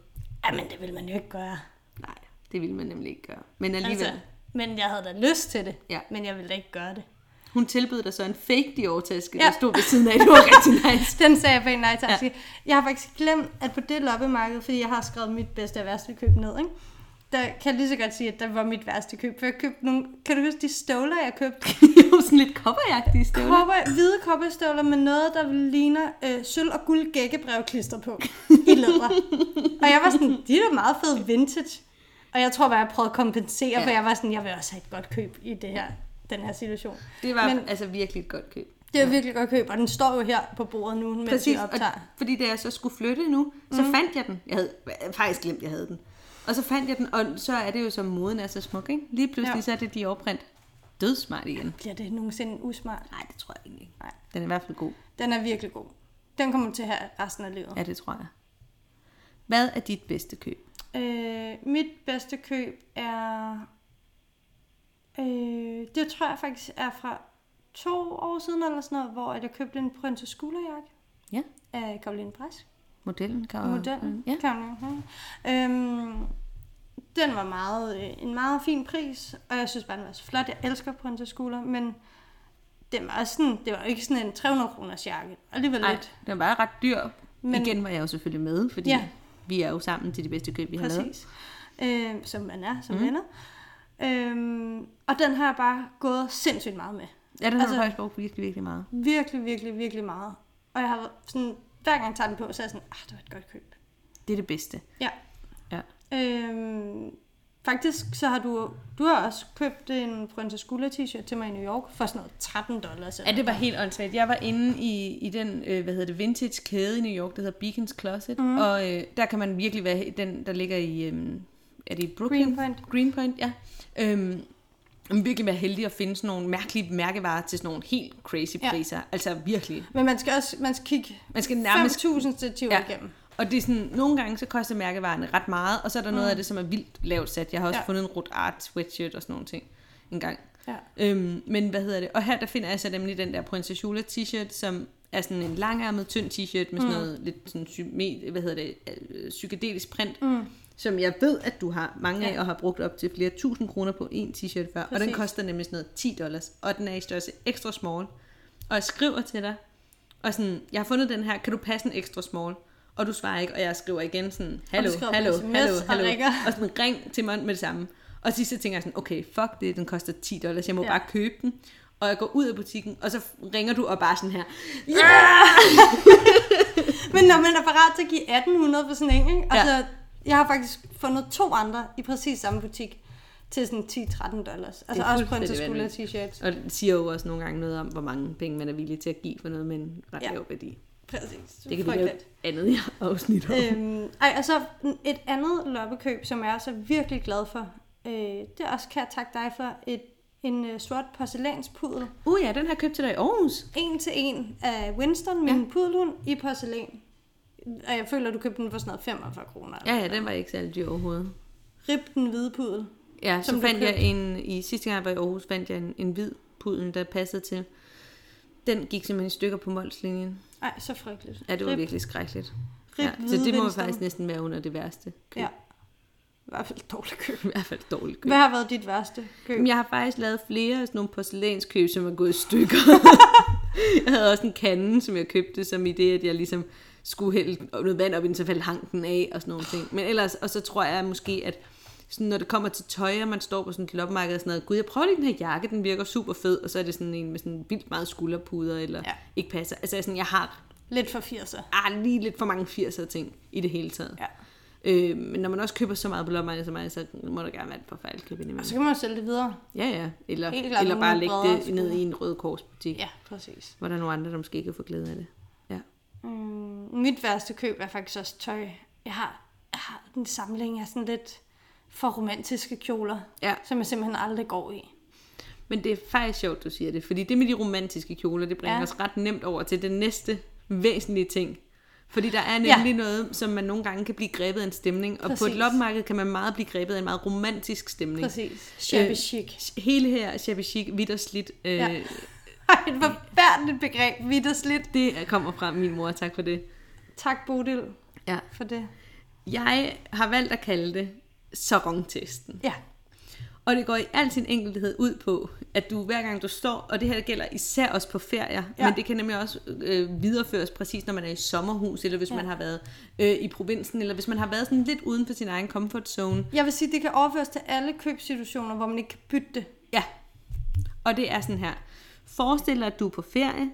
Speaker 1: Jamen, det ville man jo ikke gøre.
Speaker 2: Nej, det ville man nemlig ikke gøre. Men alligevel, altså.
Speaker 1: men jeg havde da lyst til det.
Speaker 2: Ja.
Speaker 1: Men jeg ville da ikke gøre det.
Speaker 2: hun tilbød dig så en fake Dior-taske, ja.
Speaker 1: Ja.
Speaker 2: der stod ved siden af, det var rigtig nice.
Speaker 1: Den sagde jeg pænt nej tak. Ja. Jeg har faktisk glemt, at på det loppemarked, fordi jeg har skrevet mit bedste og værste køb ned, ikke? der kan jeg lige så godt sige, at der var mit værste køb. For jeg købte nogle, kan du huske de støvler, jeg købte?
Speaker 2: Det var sådan lidt kopperjagtige støvler.
Speaker 1: Kopper, hvide kopperstøvler med noget, der ligner øh, sølv og guld gækkebrev klister på i læder. og jeg var sådan, de er da meget fede vintage. Og jeg tror bare, jeg prøvede at kompensere, ja. for jeg var sådan, jeg vil også have et godt køb i det her, den her situation.
Speaker 2: Det var
Speaker 1: Men-
Speaker 2: men, altså virkelig et godt køb.
Speaker 1: Det er virkelig godt køb, og den står jo her på bordet nu, mens Præcis, vi
Speaker 2: og,
Speaker 1: optager. Mhm.
Speaker 2: fordi da jeg så skulle flytte nu, så mm. fandt jeg den. Jeg havde jeg havde faktisk glemt, jeg havde den. Og så fandt jeg den, og så er det jo som moden er så smuk, ikke? Lige pludselig
Speaker 1: Ja.
Speaker 2: ja. så er det Dior-print. Dødsmart igen.
Speaker 1: Bliver det nogensinde usmart?
Speaker 2: Nej, det tror jeg egentlig ikke.
Speaker 1: Nej.
Speaker 2: Den er i hvert fald god.
Speaker 1: Den er virkelig god. Den kommer du til her resten af livet.
Speaker 2: Ja, det tror jeg. Hvad er dit bedste køb?
Speaker 1: Øh, mit bedste køb er... Øh, det tror jeg faktisk er fra to år siden eller sådan noget, hvor at jeg købte en prinsesse skulderjakke
Speaker 2: Ja.
Speaker 1: af Karoline Brask.
Speaker 2: Modellen, Mm. kan
Speaker 1: Modellen.
Speaker 2: Ja.
Speaker 1: Karoline, ja. Øhm, den var meget, øh, en meget fin pris, og jeg synes bare, den var så flot. Jeg elsker prinsesse skulder, men den var også sådan, det var ikke sådan en 300 kroners jakke. Alligevel
Speaker 2: Nej,
Speaker 1: lidt.
Speaker 2: den var ret dyr.
Speaker 1: Men-
Speaker 2: Men... Igen var jeg jo selvfølgelig med, fordi
Speaker 1: Ja.
Speaker 2: ja. vi er jo sammen til de bedste køb, vi har lavet.
Speaker 1: Præcis. Øh, som man er, som mm. venner. Øhm, og den har jeg bare gået sindssygt meget med.
Speaker 2: Ja, den har
Speaker 1: Altså-
Speaker 2: altså... faktisk brugt virkelig, virkelig meget.
Speaker 1: Virkelig, virkelig, virkelig meget. Og jeg har været sådan, hver gang jeg tager den på, så er jeg sådan, ah, det var et godt køb.
Speaker 2: Det er det bedste.
Speaker 1: Ja.
Speaker 2: Ja.
Speaker 1: Øhm, faktisk så har du, du har også købt en prinsesse Gula t-shirt til mig i New York for sådan noget 13 dollars.
Speaker 2: Ja, det var helt åndssvagt. Jeg var inde i, i den, øh, hvad hedder det, vintage kæde i New York, der hedder Beacon's Closet. Mm. Og øh, der kan man virkelig være, den der ligger i, øh, er det i Brooklyn?
Speaker 1: Greenpoint.
Speaker 2: Greenpoint, ja. Øhm, man virkelig være heldig at finde sådan nogle mærkelige mærkevarer til sådan nogle helt crazy
Speaker 1: Ja.
Speaker 2: priser. Altså virkelig.
Speaker 1: Men man skal også man skal kigge
Speaker 2: Man skal nærmest
Speaker 1: 5.000 stativer ja.
Speaker 2: Ja.
Speaker 1: igennem.
Speaker 2: Og det er sådan, nogle gange så koster mærkevarerne ret meget, og så er der mm. noget af det, som er vildt lavt sat. Jeg har også
Speaker 1: Ja.
Speaker 2: ja. fundet en rut art sweatshirt og sådan nogle ting en gang.
Speaker 1: Ja.
Speaker 2: Øhm, men hvad hedder det? Og her der finder jeg så nemlig den der prinsesse Jula t-shirt, som er sådan en langærmet, tynd t-shirt
Speaker 1: Mm.
Speaker 2: med sådan noget lidt sådan, syme, hvad hedder det, øh, psykedelisk print, mm. som jeg ved, at du har mange af,
Speaker 1: Ja.
Speaker 2: og har brugt op til flere tusind kroner på en t-shirt før. Og den
Speaker 1: Præcis.
Speaker 2: koster nemlig sådan noget 10 dollars, og den er i størrelse ekstra small. Og jeg skriver til dig, og sådan, jeg har fundet den her, kan du passe en ekstra small? Og du svarer ikke, og jeg skriver igen sådan, hallo,
Speaker 1: skriver på
Speaker 2: hallo,
Speaker 1: sms
Speaker 2: hallo,
Speaker 1: og
Speaker 2: hallo.
Speaker 1: ringer.
Speaker 2: Og sådan, ring til mig med det samme. Og til sidst så tænker jeg sådan, okay, fuck det, den koster 10 dollars, jeg må
Speaker 1: Ja.
Speaker 2: ja. bare købe den. Og jeg går ud af butikken, og så ringer du og bare sådan her,
Speaker 1: Men når man er parat til at give 1800 for sådan en, ikke?
Speaker 2: Ja.
Speaker 1: Altså, jeg har faktisk fundet to andre i præcis samme butik til sådan 10-13 dollars. Altså også på en
Speaker 2: fuldstændig
Speaker 1: skulder t-shirt.
Speaker 2: og det siger jo også nogle gange noget om, hvor mange penge man er villig til at give for noget med en ret
Speaker 1: Ja.
Speaker 2: ja. lav værdi.
Speaker 1: Præcis.
Speaker 2: Det kan vi lave
Speaker 1: Frygteligt.
Speaker 2: et andet afsnit om. Øh.
Speaker 1: Øhm, ej, og så et andet loppekøb, som jeg også er virkelig glad for. Øh, det er også kan jeg takke dig for. Et, en øh, sort porcelænspuddel.
Speaker 2: Uh ja, den har jeg købt til dig i Aarhus.
Speaker 1: En til en af Winston, min ja. puddelhund, i porcelæn. Og jeg føler, du købte den for sådan noget 45 kroner.
Speaker 2: Ja, ja, den var ikke særlig dyr overhovedet.
Speaker 1: Rib den hvide puddel.
Speaker 2: Ja, så
Speaker 1: Som du
Speaker 2: fandt jeg
Speaker 1: købte?
Speaker 2: en, i sidste gang jeg var i Aarhus, fandt jeg en, en hvid pudel, der passede til. Den gik simpelthen i stykker på målslinjen.
Speaker 1: Nej, så frygteligt.
Speaker 2: Ja, det var
Speaker 1: Rip-
Speaker 2: virkelig skrækkeligt.
Speaker 1: rip
Speaker 2: Ja, så det må
Speaker 1: hvidvindstøvler.
Speaker 2: faktisk næsten være under det værste køb.
Speaker 1: Ja. I hvert fald dårligt køb.
Speaker 2: I hvert fald et dårligt køb.
Speaker 1: Hvad har været dit værste køb?
Speaker 2: Jamen, jeg har faktisk lavet flere af sådan nogle porcelænskøb, som er gået i stykker. jeg havde også en kande, som jeg købte, som i det, at jeg ligesom skulle hælde noget vand op i den, så faldt hanken af og sådan nogle ting. Men ellers, og så tror jeg måske, at sådan, når det kommer til tøj, og man står på sådan et loppemarked og sådan noget, gud, jeg prøver lige den her jakke, den virker super fed, og så er det sådan en med sådan vildt meget skulderpuder, eller
Speaker 1: Ja.
Speaker 2: ja. ikke passer. Altså sådan, jeg har
Speaker 1: Lidt for 80'er.
Speaker 2: ah, lige lidt for mange 80'er ting i det hele taget.
Speaker 1: Ja.
Speaker 2: Øh, men når man også køber så meget på loppemarkedet som mig, så må der gerne være et forfærdeligt køb
Speaker 1: Og
Speaker 2: indimellem.
Speaker 1: så kan man jo sælge det videre.
Speaker 2: Ja, ja. Eller,
Speaker 1: Helt klart
Speaker 2: eller
Speaker 1: nogle
Speaker 2: bare lægge
Speaker 1: bredere
Speaker 2: det
Speaker 1: skuldre.
Speaker 2: ned i en rød korsbutik, ja.
Speaker 1: Ja, præcis.
Speaker 2: hvor der er nogle andre, der måske ikke kan få glæde af det. Ja.
Speaker 1: Mm, mit værste køb er faktisk også tøj. Jeg har, jeg har en samling af sådan lidt for romantiske kjoler,
Speaker 2: ja.
Speaker 1: som jeg simpelthen aldrig går i.
Speaker 2: Men det er faktisk sjovt, du siger det, fordi det med de romantiske kjoler, det bringer
Speaker 1: Ja.
Speaker 2: ja. os ret nemt over til den næste væsentlige ting. Fordi der er nemlig ja. noget, som man nogle gange kan blive grebet af en stemning, og på
Speaker 1: Præcis.
Speaker 2: et loppemarked kan man meget blive grebet af en meget romantisk stemning.
Speaker 1: Præcis. Shabby øh. chic.
Speaker 2: Hele her shabby chic, hvidt og slidt, øh,
Speaker 1: Ja.
Speaker 2: ja.
Speaker 1: Ej, et forfærdeligt begreb, vidt og slidt.
Speaker 2: det kommer fra min mor, tak for det.
Speaker 1: Tak, Bodil,
Speaker 2: Ja.
Speaker 1: for det.
Speaker 2: Jeg har valgt at kalde det sarongtesten.
Speaker 1: Ja,
Speaker 2: Og det går i al sin enkelhed ud på, at du hver gang du står, og det her gælder især også på ferier,
Speaker 1: Ja.
Speaker 2: ja. men det kan nemlig også øh, videreføres præcis, når man er i sommerhus, eller hvis
Speaker 1: Ja.
Speaker 2: ja. man har været øh, i provinsen, eller hvis man har været sådan lidt uden for sin egen comfort zone.
Speaker 1: jeg vil sige, det kan overføres til alle købssituationer, hvor man ikke kan bytte det.
Speaker 2: Ja. Og det er sådan her. Forestil dig, at du er på ferie,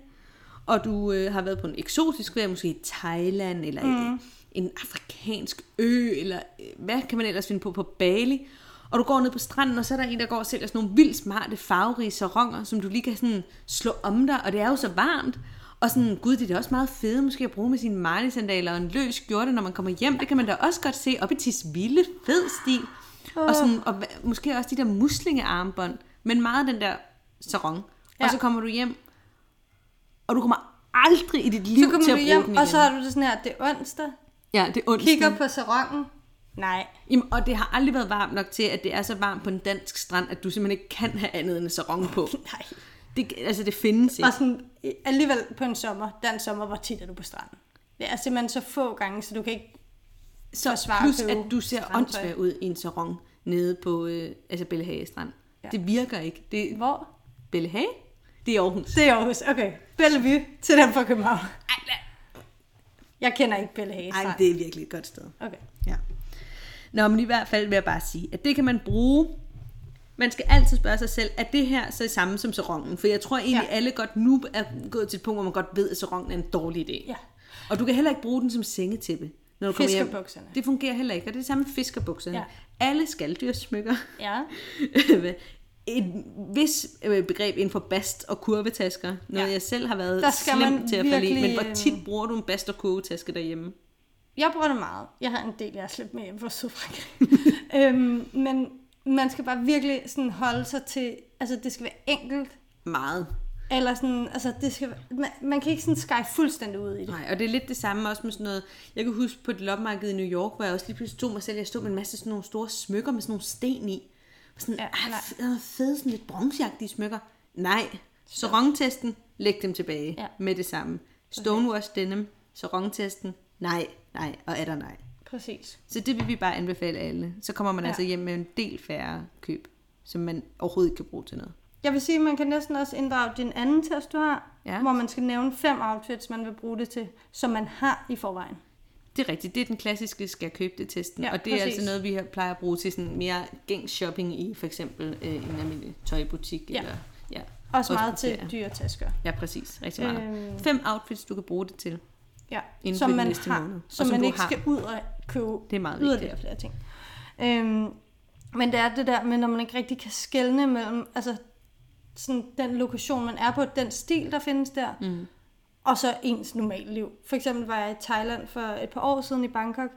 Speaker 2: og du øh, har været på en eksotisk ferie, måske i Thailand, eller mm. et, en afrikansk ø, eller øh, hvad kan man ellers finde på på Bali. Og du går ned på stranden, og så er der en, der går og sælger sådan nogle vildt smarte, farverige saronger, som du lige kan sådan slå om dig, og det er jo så varmt. Og sådan, gud, det er da også meget fede måske at bruge med sine marlisandaler og en løs skjorte, når man kommer hjem. Det kan man da også godt se op i Tisvilde, fed stil. Og, sådan, og hva- måske også de der muslingearmbånd, men meget den der sarong. Ja.
Speaker 1: Ja.
Speaker 2: Og så kommer du hjem, og du kommer aldrig i dit liv
Speaker 1: Så kommer
Speaker 2: til
Speaker 1: du
Speaker 2: at bruge
Speaker 1: hjem,
Speaker 2: den igen.
Speaker 1: og så har du det sådan her, det er onsdag,
Speaker 2: Ja, det er onsdag.
Speaker 1: kigger på sarongen. Nej.
Speaker 2: Jamen, og det har aldrig været varmt nok til, at det er så varmt på en dansk strand, at du simpelthen ikke kan have andet end en sarong på.
Speaker 1: Nej.
Speaker 2: Det, altså, det findes ikke.
Speaker 1: Og sådan, alligevel på en sommer, dansk sommer, hvor tit er du på stranden? Det er simpelthen så få gange, så du kan ikke...
Speaker 2: Så
Speaker 1: forsvare
Speaker 2: plus,
Speaker 1: at købe
Speaker 2: at du ser
Speaker 1: strandtøj.
Speaker 2: åndssvagt ud i en sarong nede på øh, altså Bellehage Strand.
Speaker 1: Ja.
Speaker 2: Ja. Det virker ikke. Det er
Speaker 1: Hvor?
Speaker 2: Bellehage? Det er Aarhus.
Speaker 1: Det er Aarhus. Okay. Bellevue til den fra København. Jeg kender ikke Bellehage.
Speaker 2: Ej, det er virkelig et godt sted.
Speaker 1: Okay.
Speaker 2: Ja. Nå, men i hvert fald vil jeg bare sige, at det kan man bruge. Man skal altid spørge sig selv, er det her så samme som sarongen? For jeg tror egentlig,
Speaker 1: Ja.
Speaker 2: ja. alle godt nu er gået til et punkt, hvor man godt ved, at sarongen er en dårlig idé.
Speaker 1: Ja.
Speaker 2: Og du kan heller ikke bruge den som sengetæppe. Når du kommer hjem.
Speaker 1: Fiskerbukserne.
Speaker 2: Det fungerer heller ikke, og det er det samme med fiskerbukserne.
Speaker 1: Ja.
Speaker 2: Ja. Alle skaldyrsmykker.
Speaker 1: Ja.
Speaker 2: et vis øh, begreb inden for bast og kurvetasker. Noget
Speaker 1: Ja.
Speaker 2: ja. jeg selv har været
Speaker 1: Der skal man
Speaker 2: slem til at falde i. Men
Speaker 1: virkelig,
Speaker 2: hvor
Speaker 1: øh,
Speaker 2: tit bruger du en bast og kurvetaske derhjemme?
Speaker 1: Jeg bruger det meget. Jeg har en del, jeg har slæbt med hjem fra Sydfrankrig. øhm, men man skal bare virkelig sådan holde sig til... Altså, det skal være enkelt.
Speaker 2: Meget.
Speaker 1: Eller sådan... Altså, det skal være, man, man kan ikke sådan skære fuldstændig ud i det.
Speaker 2: Nej, og det er lidt det samme også med sådan noget. Jeg kan huske på et loppemarked i New York, hvor jeg også lige pludselig stod mig selv. Jeg stod med en masse sådan nogle store smykker med sådan nogle sten i. Og sådan,
Speaker 1: Ja,
Speaker 2: ja,
Speaker 1: nej.
Speaker 2: ah, f- fede, sådan lidt bronzeagtige smykker. Nej, sarongtesten, læg dem tilbage
Speaker 1: Ja.
Speaker 2: ja. med det samme. Stonewash denim, sarongtesten, nej, nej og er der nej.
Speaker 1: Præcis.
Speaker 2: Så det vil vi bare anbefale alle. Så kommer man
Speaker 1: Ja.
Speaker 2: ja. altså hjem med en del færre køb, som man overhovedet ikke kan bruge til noget.
Speaker 1: Jeg vil sige, at man kan næsten også inddrage din anden test, du har, ja.
Speaker 2: Ja.
Speaker 1: hvor man skal nævne fem outfits, man vil bruge det til, som man har i forvejen.
Speaker 2: Det er rigtigt, det er den klassiske skal jeg købe det testen,
Speaker 1: Ja,
Speaker 2: ja, og det er
Speaker 1: præcis.
Speaker 2: altså noget, vi har- plejer at bruge til sådan mere gængs shopping i for eksempel øh, en almindelig tøjbutik.
Speaker 1: Ja.
Speaker 2: Ja. Eller, ja.
Speaker 1: Også
Speaker 2: på
Speaker 1: meget til
Speaker 2: ferie.
Speaker 1: dyre tasker.
Speaker 2: ja, præcis, rigtig meget.
Speaker 1: Øhm.
Speaker 2: Øh... Fem outfits, du kan bruge det til.
Speaker 1: Ja,
Speaker 2: Inden
Speaker 1: som
Speaker 2: for den
Speaker 1: man
Speaker 2: næste
Speaker 1: har,
Speaker 2: måned. Og
Speaker 1: som,
Speaker 2: som
Speaker 1: man
Speaker 2: du
Speaker 1: ikke
Speaker 2: har.
Speaker 1: skal ud og købe
Speaker 2: Det er meget
Speaker 1: yderligere flere ting. Øhm, men det er det der med, når man ikke rigtig kan skelne mellem altså, sådan den lokation, man er på, den stil, der findes der, mm. og så ens normale liv. For eksempel var jeg i Thailand for et par år siden i Bangkok,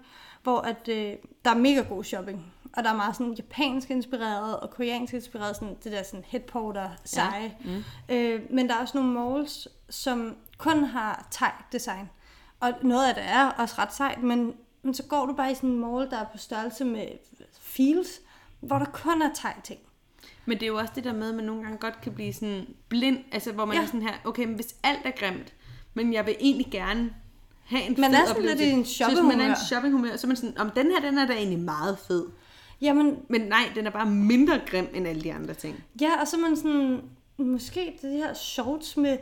Speaker 1: hvor at, øh, der er mega god shopping. Og der er meget sådan japansk inspireret og koreansk inspireret, sådan det der sådan headporter seje. Ja. Mm. Øh, men der er også nogle malls, som kun har thai-design. Og noget af det er også ret sejt, men, men så går du bare i sådan en mall, der er på størrelse med Fields, hvor der kun er tegting.
Speaker 2: Men det er jo også det der med, at man nogle gange godt kan blive sådan blind, altså hvor man ja.
Speaker 1: Ja.
Speaker 2: er sådan her, okay, men hvis alt er grimt, men jeg vil egentlig gerne have en
Speaker 1: Man
Speaker 2: fed
Speaker 1: er sådan lidt
Speaker 2: oplevelse.
Speaker 1: i en
Speaker 2: Så hvis man er i
Speaker 1: shoppinghumør.
Speaker 2: en shoppinghumør, så er man sådan, om den her, den er da egentlig meget fed.
Speaker 1: Jamen,
Speaker 2: Men nej, den er bare mindre grim end alle de andre ting.
Speaker 1: Ja, og så er man sådan, måske det her shorts med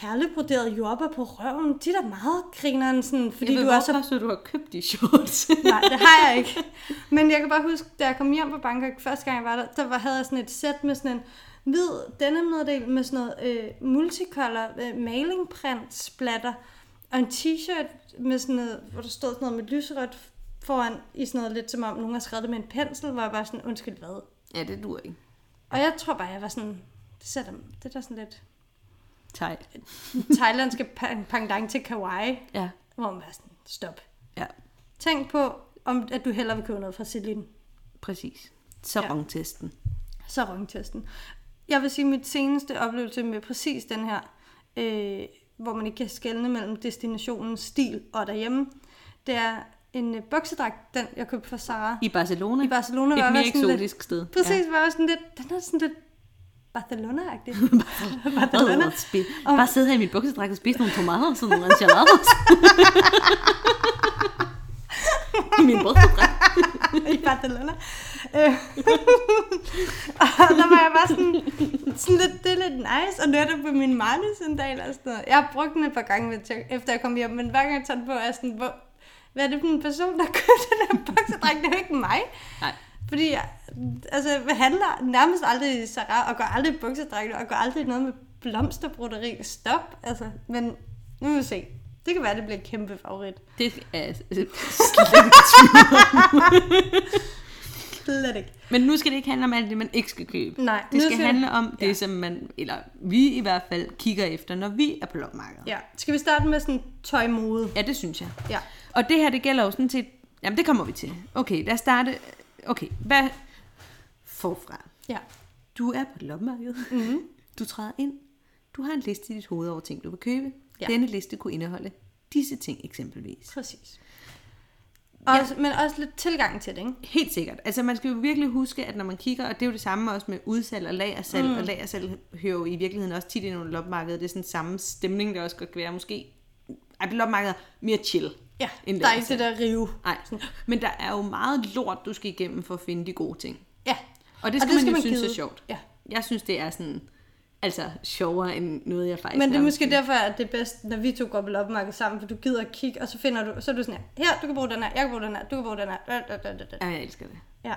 Speaker 1: perlebroderet jordbær på røven, de er da meget grineren, sådan, fordi
Speaker 2: Fordi jeg
Speaker 1: du
Speaker 2: ved,
Speaker 1: er
Speaker 2: hvorfor,
Speaker 1: så...
Speaker 2: så... du har købt de shorts.
Speaker 1: Nej, det har jeg ikke. Men jeg kan bare huske, da jeg kom hjem fra Bangkok, første gang jeg var der, der var, havde jeg sådan et sæt med sådan en hvid denimnederdel med sådan noget øh, multicolor øh, malingprint splatter, og en t-shirt med sådan noget, hvor der stod sådan noget med lyserødt foran, i sådan noget lidt som om nogen har skrevet det med en pensel, hvor jeg bare sådan, undskyld hvad?
Speaker 2: ja, det duer ikke.
Speaker 1: Og jeg tror bare, jeg var sådan, det, ser da, det er da sådan lidt
Speaker 2: Tej.
Speaker 1: thailandske pan- pangdang til Kauai,
Speaker 2: Ja.
Speaker 1: hvor man var sådan, stop.
Speaker 2: Ja,
Speaker 1: Tænk på, om, at du hellere vil købe noget fra Celine.
Speaker 2: præcis. Så
Speaker 1: Ja.
Speaker 2: ja. testen.
Speaker 1: Så rungtesten. Jeg vil sige, at mit seneste oplevelse med præcis den her, øh, hvor man ikke kan skelne mellem destinationens stil og derhjemme, det er en øh, buksedragt, den jeg købte fra Sara.
Speaker 2: I Barcelona.
Speaker 1: I Barcelona var
Speaker 2: Et
Speaker 1: jeg
Speaker 2: mere
Speaker 1: også sådan lidt-
Speaker 2: eksotisk sted.
Speaker 1: Præcis, var jeg sådan lidt, den er sådan lidt Barcelona-agtig. Barcelona.
Speaker 2: Barcelona. Og bare sidde her i min buksedragt og spise nogle tomater og sådan nogle enchiladas. I min buksedragt.
Speaker 1: i Barcelona. Øh. og der var jeg bare sådan, sådan lidt, det er lidt nice, og netop med min Marley-sandal og sådan noget. Jeg har brugt den et par gange, ved- til- efter jeg kom hjem, men hver gang jeg tager den på, er jeg sådan, hvor, hvad er det for en person, der købte den her buksedræk? Det er jo ikke mig.
Speaker 2: Nej.
Speaker 1: Fordi jeg, altså, jeg handler nærmest aldrig i Sarah, og går aldrig i buksedrækker, og går aldrig i noget med blomsterbroderi. Stop, altså. Men nu vil vi se. Det kan være, det bliver en kæmpe favorit.
Speaker 2: Det er
Speaker 1: Slet ikke.
Speaker 2: Men nu skal det ikke handle om alt det, man ikke skal købe.
Speaker 1: Nej,
Speaker 2: Det
Speaker 1: nu
Speaker 2: skal
Speaker 1: siger-
Speaker 2: handle om det,
Speaker 1: Ja.
Speaker 2: som man, eller vi i hvert fald, kigger efter, når vi er på lopmarkedet.
Speaker 1: Ja. Skal vi starte med sådan tøjmode?
Speaker 2: Ja, det synes jeg.
Speaker 1: Ja.
Speaker 2: Og det her, det gælder jo sådan set... Jamen, det kommer vi til. Okay, lad os starte... Okay, hvad... Forfra.
Speaker 1: Ja.
Speaker 2: Du er på lopmarkedet.
Speaker 1: Mhm.
Speaker 2: Mm-hmm. Du træder ind. Du har en liste i dit hoved over ting, du vil købe. Ja.
Speaker 1: Ja.
Speaker 2: Denne liste kunne indeholde disse ting eksempelvis.
Speaker 1: Præcis. Og, ja. Men også lidt tilgang til det, ikke?
Speaker 2: Helt sikkert. Altså man skal jo virkelig huske, at når man kigger, og det er jo det samme også med udsalg og lagersalg, mm. og lagersalg hører jo i virkeligheden også tit ind under lopmarkedet. Det er sådan samme stemning, der også godt kan være. Måske er lopmarkedet mere chill.
Speaker 1: Ja,
Speaker 2: end
Speaker 1: der er ikke
Speaker 2: lagersalg.
Speaker 1: det der rive.
Speaker 2: Nej, men der er jo meget lort, du skal igennem for at finde de gode ting.
Speaker 1: Ja.
Speaker 2: Og det skal, og det man, jo synes
Speaker 1: gide.
Speaker 2: er sjovt.
Speaker 1: Ja.
Speaker 2: Jeg synes, det er sådan, altså sjovere end noget, jeg faktisk
Speaker 1: Men det er
Speaker 2: nærmest
Speaker 1: måske derfor, at det er bedst, når vi to går på loppemarked sammen, for du gider at kigge, og så finder du, så er du sådan her, her, du kan bruge den her, jeg kan bruge den her, du kan bruge den her. Da, da, da, da, da.
Speaker 2: Ja, jeg elsker det.
Speaker 1: Ja.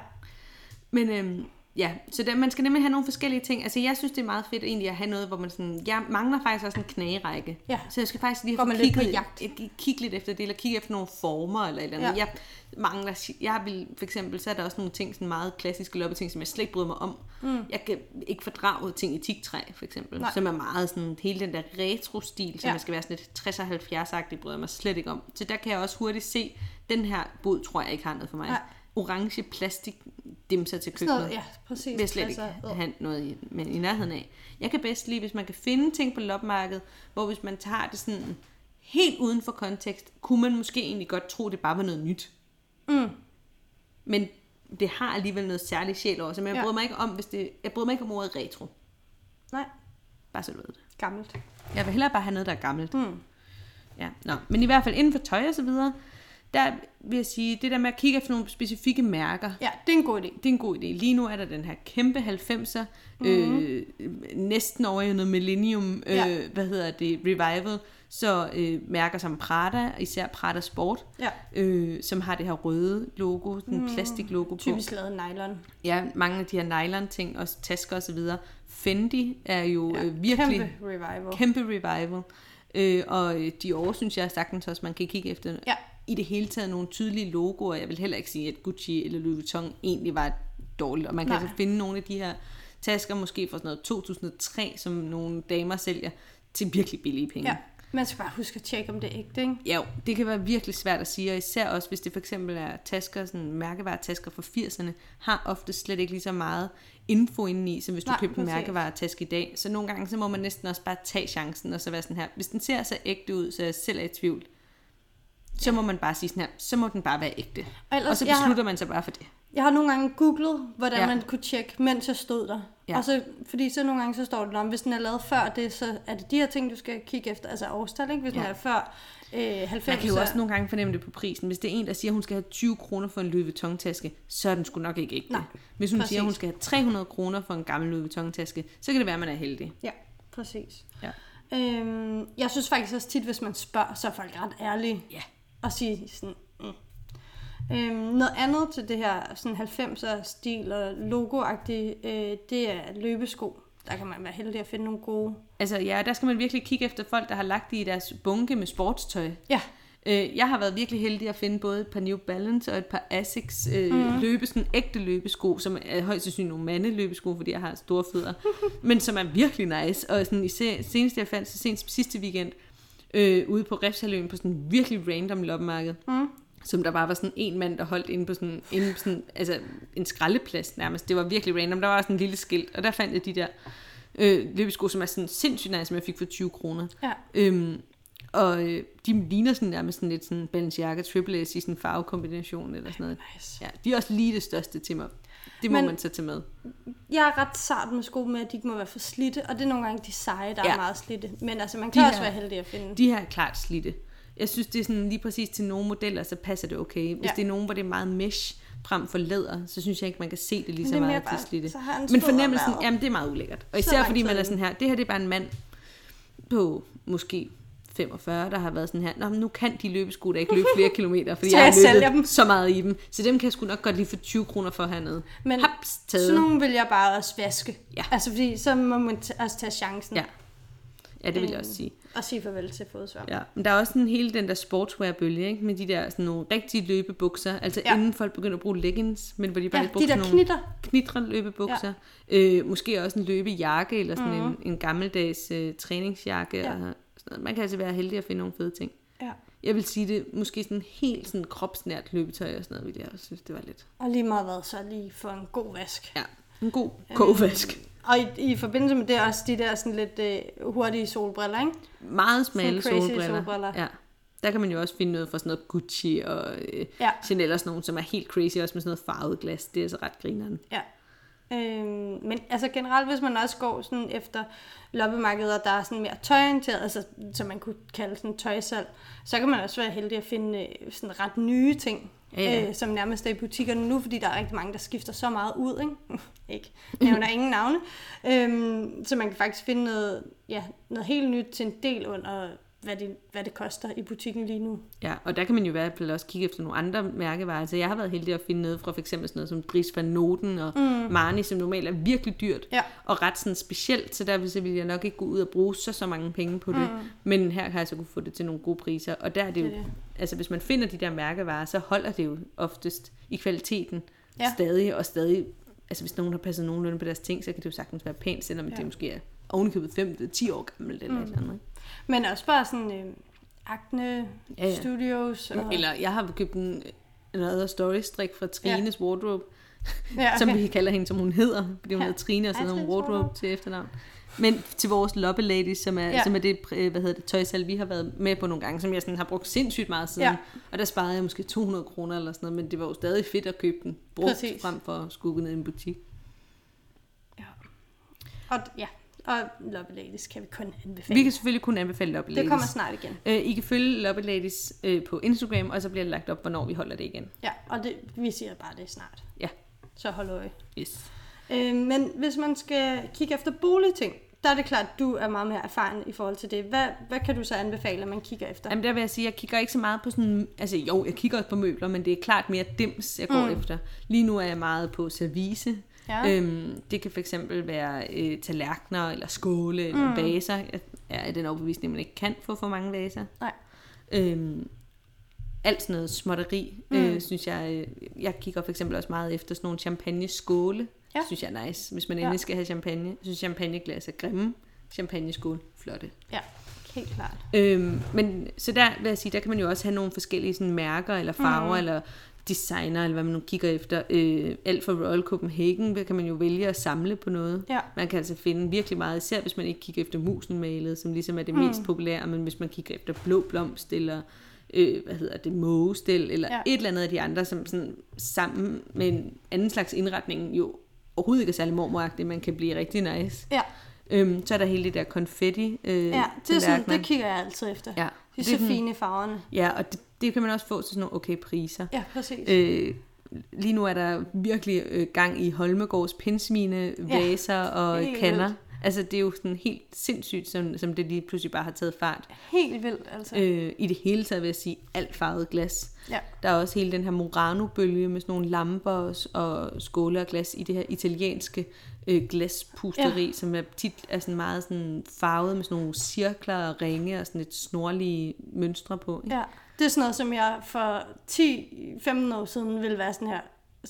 Speaker 2: Men øhm, ja, så der, man skal nemlig have nogle forskellige ting. Altså jeg synes, det er meget fedt egentlig at have noget, hvor man sådan... Jeg mangler faktisk også en knagerække.
Speaker 1: Ja.
Speaker 2: Så jeg skal faktisk lige
Speaker 1: Går
Speaker 2: have
Speaker 1: man lidt på
Speaker 2: kigget,
Speaker 1: jagt.
Speaker 2: jeg- kigge lidt efter det, eller kigge efter nogle former eller et eller andet. Ja.
Speaker 1: Ja.
Speaker 2: Jeg mangler... si- Jeg vil, for eksempel, så er der også nogle ting, sådan meget klassiske loppeting, som jeg slet ikke bryder mig om. Mm. Jeg kan ikke fordrage ting i tigtræ, for eksempel, Nej.
Speaker 1: Nej.
Speaker 2: som er meget sådan hele den der retro-stil, som ja.
Speaker 1: Ja.
Speaker 2: man skal være sådan lidt 60'er 70'er-agtig, bryder jeg mig slet ikke om. Så der kan jeg også hurtigt se, den her bod tror jeg ikke har noget for mig.
Speaker 1: Nej.
Speaker 2: Orange plastik dimser til
Speaker 1: Sådan
Speaker 2: køkkenet.
Speaker 1: noget, ja, præcis.
Speaker 2: vil jeg slet ikke
Speaker 1: Altså, øh.
Speaker 2: have noget i, men i nærheden af. Jeg kan bedst lide, hvis man kan finde ting på lopmarkedet, hvor hvis man tager det sådan helt uden for kontekst, kunne man måske egentlig godt tro, det bare var noget nyt. Mm. Men det har alligevel noget særligt sjæl over sig, men jeg
Speaker 1: Ja.
Speaker 2: bryder mig ikke om, hvis det, jeg bryder mig ikke om ordet retro.
Speaker 1: Nej,
Speaker 2: Bare så du ved det.
Speaker 1: gammelt.
Speaker 2: Jeg vil hellere bare have noget, der er gammelt. Mm. Ja, nå. Men i hvert fald inden for tøj og så videre, der vil jeg sige, det der med at kigge efter nogle specifikke mærker,
Speaker 1: Ja, det er en god idé.
Speaker 2: det er en god idé. Lige nu er der den her kæmpe 90'er, mm. øh, næsten over i noget millennium, øh, ja.
Speaker 1: Mhm. Ja.
Speaker 2: hvad hedder det, revival, så øh, mærker som Prada, især Prada Sport,
Speaker 1: Ja.
Speaker 2: øh, som har det her røde logo, den mm. plastiklogo på.
Speaker 1: Mhm. Typisk lavet nylon.
Speaker 2: Ja, mange af de her nylon ting, også tasker osv. Fendi er jo ja, øh, virkelig
Speaker 1: Kæmpe revival.
Speaker 2: kæmpe revival. Øh, og øh, Dior synes jeg sagtens også, man kan kigge efter
Speaker 1: Ja.
Speaker 2: i det hele taget nogle tydelige logoer. Jeg vil heller ikke sige, at Gucci eller Louis Vuitton egentlig var dårligt. Og man kan
Speaker 1: Nej.
Speaker 2: altså finde nogle af de her tasker, måske fra sådan noget 2003, som nogle damer sælger til virkelig billige penge.
Speaker 1: Ja. Man skal bare huske at tjekke, om det er ægte, ikke?
Speaker 2: Ja, jo, det kan være virkelig svært at sige, og især også, hvis det for eksempel er tasker, sådan mærkevaretasker fra 80'erne, har ofte slet ikke lige så meget info indeni, som hvis du
Speaker 1: Nej,
Speaker 2: købte en
Speaker 1: præcis.
Speaker 2: mærkevaretaske i dag. Så nogle gange, så må man næsten også bare tage chancen, og så være sådan her, hvis den ser så ægte ud, så jeg selv er i tvivl, så må man bare sige sådan her, så må den bare være ægte.
Speaker 1: Og ellers,
Speaker 2: og så
Speaker 1: jeg har-
Speaker 2: beslutter man sig bare for det.
Speaker 1: Jeg har nogle gange googlet, hvordan
Speaker 2: Ja.
Speaker 1: ja. man kunne tjekke, mens jeg stod der.
Speaker 2: Ja.
Speaker 1: Ja. Og så, fordi så nogle gange så står det om, hvis den er lavet før det, så er det de her ting, du skal kigge efter. Altså årstal, ikke? Hvis ja.
Speaker 2: Ja.
Speaker 1: den er før øh, 90.
Speaker 2: Man kan jo
Speaker 1: så-
Speaker 2: også nogle gange fornemme det på prisen. Hvis det er en, der siger, at hun skal have 20 kroner for en Louis Vuitton-taske, så er den sgu nok ikke ægte.
Speaker 1: Nej,
Speaker 2: Hvis hun præcis.
Speaker 1: præcis.
Speaker 2: siger, at hun skal have 300 kroner for en gammel Louis Vuitton-taske, så kan det være, at man er heldig.
Speaker 1: Ja, præcis.
Speaker 2: Ja.
Speaker 1: Øhm, jeg synes faktisk også tit, hvis man spørger, så er folk ret ærlige.
Speaker 2: Ja.
Speaker 1: Og siger sådan, mm. øhm, noget andet til det her sådan 90'er stil og logo øh, det er løbesko. Der kan man være heldig at finde nogle gode.
Speaker 2: Altså ja, der skal man virkelig kigge efter folk, der har lagt det i deres bunke med sportstøj.
Speaker 1: Ja,
Speaker 2: Øh, jeg har været virkelig heldig at finde både et par New Balance og et par Asics øh, mm. løbe, sådan ægte løbesko, som er højst sandsynligt nogle mandeløbesko, fordi jeg har store fødder, men som er virkelig nice. Og sådan, især, senest jeg fandt, så sent som sidste weekend, øh, ude på Refshaløen på sådan en virkelig random loppemarked, mm. som der bare var sådan en mand, der holdt inde på sådan, inde på sådan altså, en skraldeplads nærmest. Det var virkelig random. Der var sådan en lille skilt, og der fandt jeg de der øh, løbesko, som er sådan sindssygt nice, som jeg fik for 20 kroner.
Speaker 1: ja.
Speaker 2: Øhm, og øh, de ligner sådan nærmest sådan lidt sådan Balenciaga Triple S i sådan en farvekombination eller sådan noget.
Speaker 1: Nice.
Speaker 2: Ja, de er også lige det største til mig. Det må
Speaker 1: Men-
Speaker 2: Men, man så tage med.
Speaker 1: Jeg er ret sart med sko med, at de ikke må være for slidte, og det er nogle gange de seje, der
Speaker 2: Ja.
Speaker 1: er meget slidte. Men altså, man
Speaker 2: De
Speaker 1: kan
Speaker 2: her-
Speaker 1: også være heldig at finde.
Speaker 2: De her er klart slidte. Jeg synes, det er sådan lige præcis til nogle modeller, så passer det okay. Hvis ja.
Speaker 1: Ja.
Speaker 2: det er nogen, hvor det er meget mesh frem for læder, så synes jeg ikke, man kan se det lige
Speaker 1: Men
Speaker 2: så
Speaker 1: det er
Speaker 2: meget,
Speaker 1: mere
Speaker 2: at det er
Speaker 1: bare-
Speaker 2: slidte.
Speaker 1: så har han
Speaker 2: Men
Speaker 1: stået og
Speaker 2: fornemmelsen,
Speaker 1: været-
Speaker 2: jamen det er meget ulækkert. Og
Speaker 1: Så
Speaker 2: især
Speaker 1: lang
Speaker 2: fordi
Speaker 1: tid
Speaker 2: man er
Speaker 1: inde.
Speaker 2: sådan her, det her det er bare en mand på måske 45, der har været sådan her, Nå, men nu kan de løbesko da ikke løbe flere kilometer, fordi
Speaker 1: Så
Speaker 2: jeg
Speaker 1: jeg
Speaker 2: har
Speaker 1: sælger
Speaker 2: løbet
Speaker 1: dem."
Speaker 2: så meget i dem. Så dem kan jeg sgu nok godt lige få 20 kroner for hernede.
Speaker 1: Men
Speaker 2: Haps, taget.
Speaker 1: Sådan nogle vil jeg bare også vaske.
Speaker 2: Ja.
Speaker 1: Altså, fordi så må man t- også tage chancen
Speaker 2: Ja. Ja, det vil jeg også sige.
Speaker 1: og sige farvel til fodsvær.
Speaker 2: Ja, men der er også sådan hele den der sportswear-bølge, ikke? Med de der sådan nogle rigtige løbebukser. Altså ja.
Speaker 1: Ja.
Speaker 2: inden folk begynder at bruge leggings, men hvor de bare
Speaker 1: Ja,
Speaker 2: lige
Speaker 1: de
Speaker 2: brugte
Speaker 1: der
Speaker 2: sådan nogle
Speaker 1: knitter.
Speaker 2: knitre løbebukser. Ja. Øh, måske også en løbejakke, eller sådan mm-hmm. en, en gammeldags øh, træningsjakke. Ja.
Speaker 1: Mhm. Ja.
Speaker 2: Og sådan noget. Man kan altså være heldig at finde nogle fede ting.
Speaker 1: Ja.
Speaker 2: Jeg vil sige det, måske sådan helt sådan kropsnært løbetøj og sådan noget, ville jeg også synes, det var lidt.
Speaker 1: Og lige meget hvad, så lige for en god vask.
Speaker 2: Ja, en god kogvask.
Speaker 1: Og i, i forbindelse med det også de der sådan lidt øh, hurtige solbriller, ikke?
Speaker 2: Meget smalle
Speaker 1: Sådan crazy
Speaker 2: solbriller.
Speaker 1: solbriller.
Speaker 2: Ja. Der kan man jo også finde noget fra sådan noget Gucci og øh, ja.
Speaker 1: Ja.
Speaker 2: Chanel og sådan nogle, som er helt crazy, også med sådan noget farvet glas. Det er altså ret grineren.
Speaker 1: Ja. Øhm, men altså generelt, hvis man også går sådan efter loppemarkeder, der er sådan mere tøjorienteret, altså som man kunne kalde sådan tøjsalg, så kan man også være heldig at finde øh, sådan ret nye ting,
Speaker 2: Ja, ja.
Speaker 1: Øh, som nærmest er i butikkerne nu, fordi der er rigtig mange, der skifter så meget ud, ikke? ikke. Nævner ingen navne. Øhm, så man kan faktisk finde noget, ja, noget helt nyt til en del under, hvad det, hvad det koster i butikken lige nu.
Speaker 2: Ja, og der kan man jo i hvert fald også kigge efter nogle andre mærkevarer. Altså, jeg har været heldig at finde noget fra for eksempel sådan noget som Dries van Noten og mm. Marni, som normalt er virkelig dyrt
Speaker 1: Ja.
Speaker 2: og ret sådan specielt, så derfor så ville jeg nok ikke gå ud og bruge så, så mange penge på det. Mm. Men her kan jeg så kunne få det til nogle gode priser, og der er det jo,
Speaker 1: Det er det.
Speaker 2: altså hvis man finder de der mærkevarer, så holder det jo oftest i kvaliteten ja.
Speaker 1: Ja.
Speaker 2: stadig og stadig. Altså hvis nogen har passet nogenlunde på deres ting, så kan det jo sagtens være pænt, selvom ja. det måske er ovenikøbet 5-10 år gammelt eller mm. et eller andet.
Speaker 1: Men også bare sådan øh, Acne
Speaker 2: Ja, ja.
Speaker 1: Studios. Og,
Speaker 2: Eller jeg har købt en another story strik fra Trines ja. wardrobe,
Speaker 1: ja,
Speaker 2: okay. som vi kalder hende, som hun hedder, fordi hun ja.
Speaker 1: Ja.
Speaker 2: hedder Trine, og så
Speaker 1: Ej,
Speaker 2: hedder hun
Speaker 1: Trines
Speaker 2: wardrobe
Speaker 1: Wardrobe.
Speaker 2: til efternavn. Men til vores loppelady, som er, ja.
Speaker 1: Ja.
Speaker 2: som er det, øh, hvad hedder det tøjsal, vi har været med på nogle gange, som jeg sådan har brugt sindssygt meget siden. Ja.
Speaker 1: Ja.
Speaker 2: Og der sparede jeg måske 200 kroner eller sådan noget, men det var jo stadig fedt at købe den brugt, Præcis.
Speaker 1: Præcis.
Speaker 2: frem for at skulle gå ned i en butik.
Speaker 1: Og, ja, og Love Ladies kan vi kun anbefale.
Speaker 2: Vi kan selvfølgelig kun anbefale loppeladies.
Speaker 1: Det kommer snart igen.
Speaker 2: øh, I kan følge loppeladies øh, på Instagram, og så bliver det lagt op, hvornår vi holder det igen.
Speaker 1: Ja, og det, vi siger bare, det er snart.
Speaker 2: Ja,
Speaker 1: Så hold øje.
Speaker 2: yes.
Speaker 1: Øh, men hvis man skal kigge efter boligting, der er det klart, at du er meget mere erfaren i forhold til det. Hvad, hvad kan du så anbefale, at man kigger efter?
Speaker 2: Jamen der vil jeg sige, jeg kigger ikke så meget på sådan... Altså jo, jeg kigger også på møbler, men det er klart mere dims, jeg går mm. efter. Lige nu er jeg meget på service.
Speaker 1: Ja.
Speaker 2: Øhm, det kan fx være øh, tallerkener, eller skåle, eller mm. vaser. Jeg er af den overbevisning, at man ikke kan få for mange vaser.
Speaker 1: Nej.
Speaker 2: Øhm, alt sådan noget småtteri, mm. øh, synes jeg. øh, Jeg kigger for eksempel også meget efter sådan nogle champagne-skåle. Ja.
Speaker 1: Ja.
Speaker 2: Synes jeg er nice, hvis man
Speaker 1: Ja.
Speaker 2: endelig skal have champagne. Jeg synes champagneglas er grimme. Champagneskåle, flotte.
Speaker 1: Ja, helt klart.
Speaker 2: Øhm, men så der vil jeg sige, der kan man jo også have nogle forskellige sådan, mærker eller farver
Speaker 1: Mhm.
Speaker 2: mm. eller designer, eller hvad man nu kigger efter. Øh, alt fra Royal Copenhagen der kan man jo vælge at samle på noget.
Speaker 1: Ja.
Speaker 2: Man kan altså finde virkelig meget, især
Speaker 1: Mhm.
Speaker 2: hvis man ikke kigger efter musenmalet, som ligesom er det mm. mest populære, men hvis man kigger efter blå blomst eller øh, hvad hedder det, mågestel, eller
Speaker 1: Ja.
Speaker 2: ja. et eller andet af de andre, som sådan, sammen med en anden slags indretning jo overhovedet ikke er særlig mormoragtigt, man kan blive rigtig nice.
Speaker 1: Ja,
Speaker 2: Øhm, så er der hele det der konfetti øh,
Speaker 1: ja det, er sådan,
Speaker 2: tallerkener.
Speaker 1: det kigger jeg altid efter.
Speaker 2: Ja,
Speaker 1: De er
Speaker 2: det er
Speaker 1: så
Speaker 2: sådan-
Speaker 1: fine i farverne.
Speaker 2: ja og det, det, kan man også få til sådan nogle okay priser.
Speaker 1: Ja, præcis.
Speaker 2: Øh, lige nu er der virkelig øh, gang i Holmegårds pinsmine, vaser og
Speaker 1: helt
Speaker 2: kander.
Speaker 1: vildt.
Speaker 2: Altså det er jo sådan helt sindssygt, som, som det lige pludselig bare har taget fart.
Speaker 1: Helt vildt, altså.
Speaker 2: Øh, I det hele taget vil jeg sige, alt farvet glas.
Speaker 1: Ja.
Speaker 2: Der er også hele den her Murano-bølge med sådan nogle lamper og, og skåle og glas i det her italienske øh, glaspusteri, ja. som er tit er sådan meget sådan farvet med sådan nogle cirkler og ringe og sådan lidt snorlige mønstre på. Ikke?
Speaker 1: Ja, det er sådan noget, som jeg for 10-15 år siden ville være sådan her.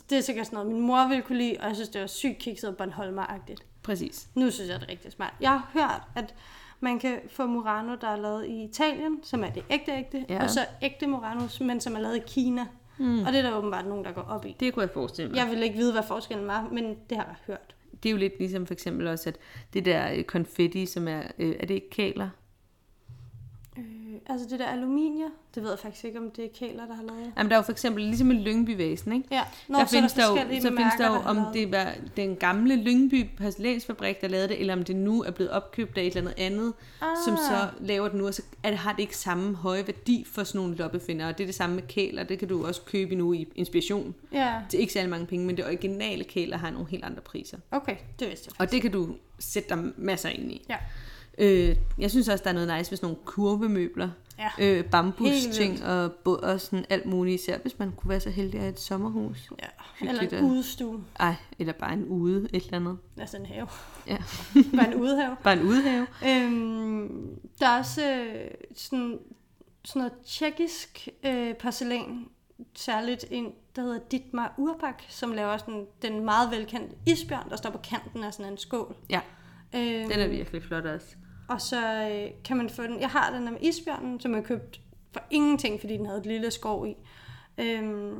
Speaker 1: Det er sikkert sådan noget, min mor ville kunne lide, og jeg synes, det var sygt kikset og Bornholmer-agtigt.
Speaker 2: Præcis.
Speaker 1: Nu synes jeg, det er rigtig smart. Jeg har hørt, at man kan få Murano, der er lavet i Italien, som er det ægte ægte, ja.
Speaker 2: Ja.
Speaker 1: og så ægte Murano, men som er lavet i Kina. Mm. Og det er der åbenbart nogen, der går op i.
Speaker 2: Det kunne jeg forestille mig.
Speaker 1: Jeg vil ikke vide, hvad forskellen var, men det har jeg hørt.
Speaker 2: Det er jo lidt ligesom for eksempel også, at det der øh, konfetti, som er, øh, er det ikke kæler?
Speaker 1: Øh, altså det der aluminium, det ved jeg faktisk ikke, om det er Kæler, der har lavet.
Speaker 2: Jamen der er jo for eksempel, ligesom med Lyngbyvæsen, ikke?
Speaker 1: Ja, Nå,
Speaker 2: Nå, der findes
Speaker 1: så er der
Speaker 2: der, jo,
Speaker 1: forskellige
Speaker 2: så findes
Speaker 1: mærker,
Speaker 2: der jo,
Speaker 1: har lavet
Speaker 2: om det var den gamle Lyngby porcelænsfabrik, der lavede det, eller om det nu er blevet opkøbt af et eller andet andet, ah. som så laver det nu, og så er det, har det ikke samme høje værdi for sådan nogle loppefinder, og det er det samme med kæler, det kan du også købe nu i Inspiration.
Speaker 1: Ah, Ja,
Speaker 2: Det er ikke særlig mange penge, men det originale kæler har nogle helt andre priser.
Speaker 1: okay, det vidste jeg.
Speaker 2: Og det kan du sætte dig masser ind i.
Speaker 1: Ja.
Speaker 2: Øh, jeg synes også, der er noget nice med sådan nogle kurvemøbler.
Speaker 1: Ja.
Speaker 2: Øh,
Speaker 1: Helt
Speaker 2: bambusting og, bo- og sådan alt muligt, især hvis man kunne være så heldig at have et sommerhus.
Speaker 1: Ja, eller
Speaker 2: Hyggeligt,
Speaker 1: en
Speaker 2: ja.
Speaker 1: udestue.
Speaker 2: Ej, eller bare en ude, et eller andet.
Speaker 1: Altså en have.
Speaker 2: Ja.
Speaker 1: Bare en udehave.
Speaker 2: Bare en udhave.
Speaker 1: Øhm, der er også øh, sådan, sådan noget tjekkisk øh, porcelæn, særligt en, der hedder Dietmar Urbach, som laver sådan den meget velkendte isbjørn, der står på kanten af sådan en skål.
Speaker 2: Ja,
Speaker 1: Øhm,
Speaker 2: den er virkelig flot også.
Speaker 1: Og så øh, kan man få den. Jeg har den her med isbjørnen, som jeg købt for ingenting, fordi den havde et lille skov i. Øhm,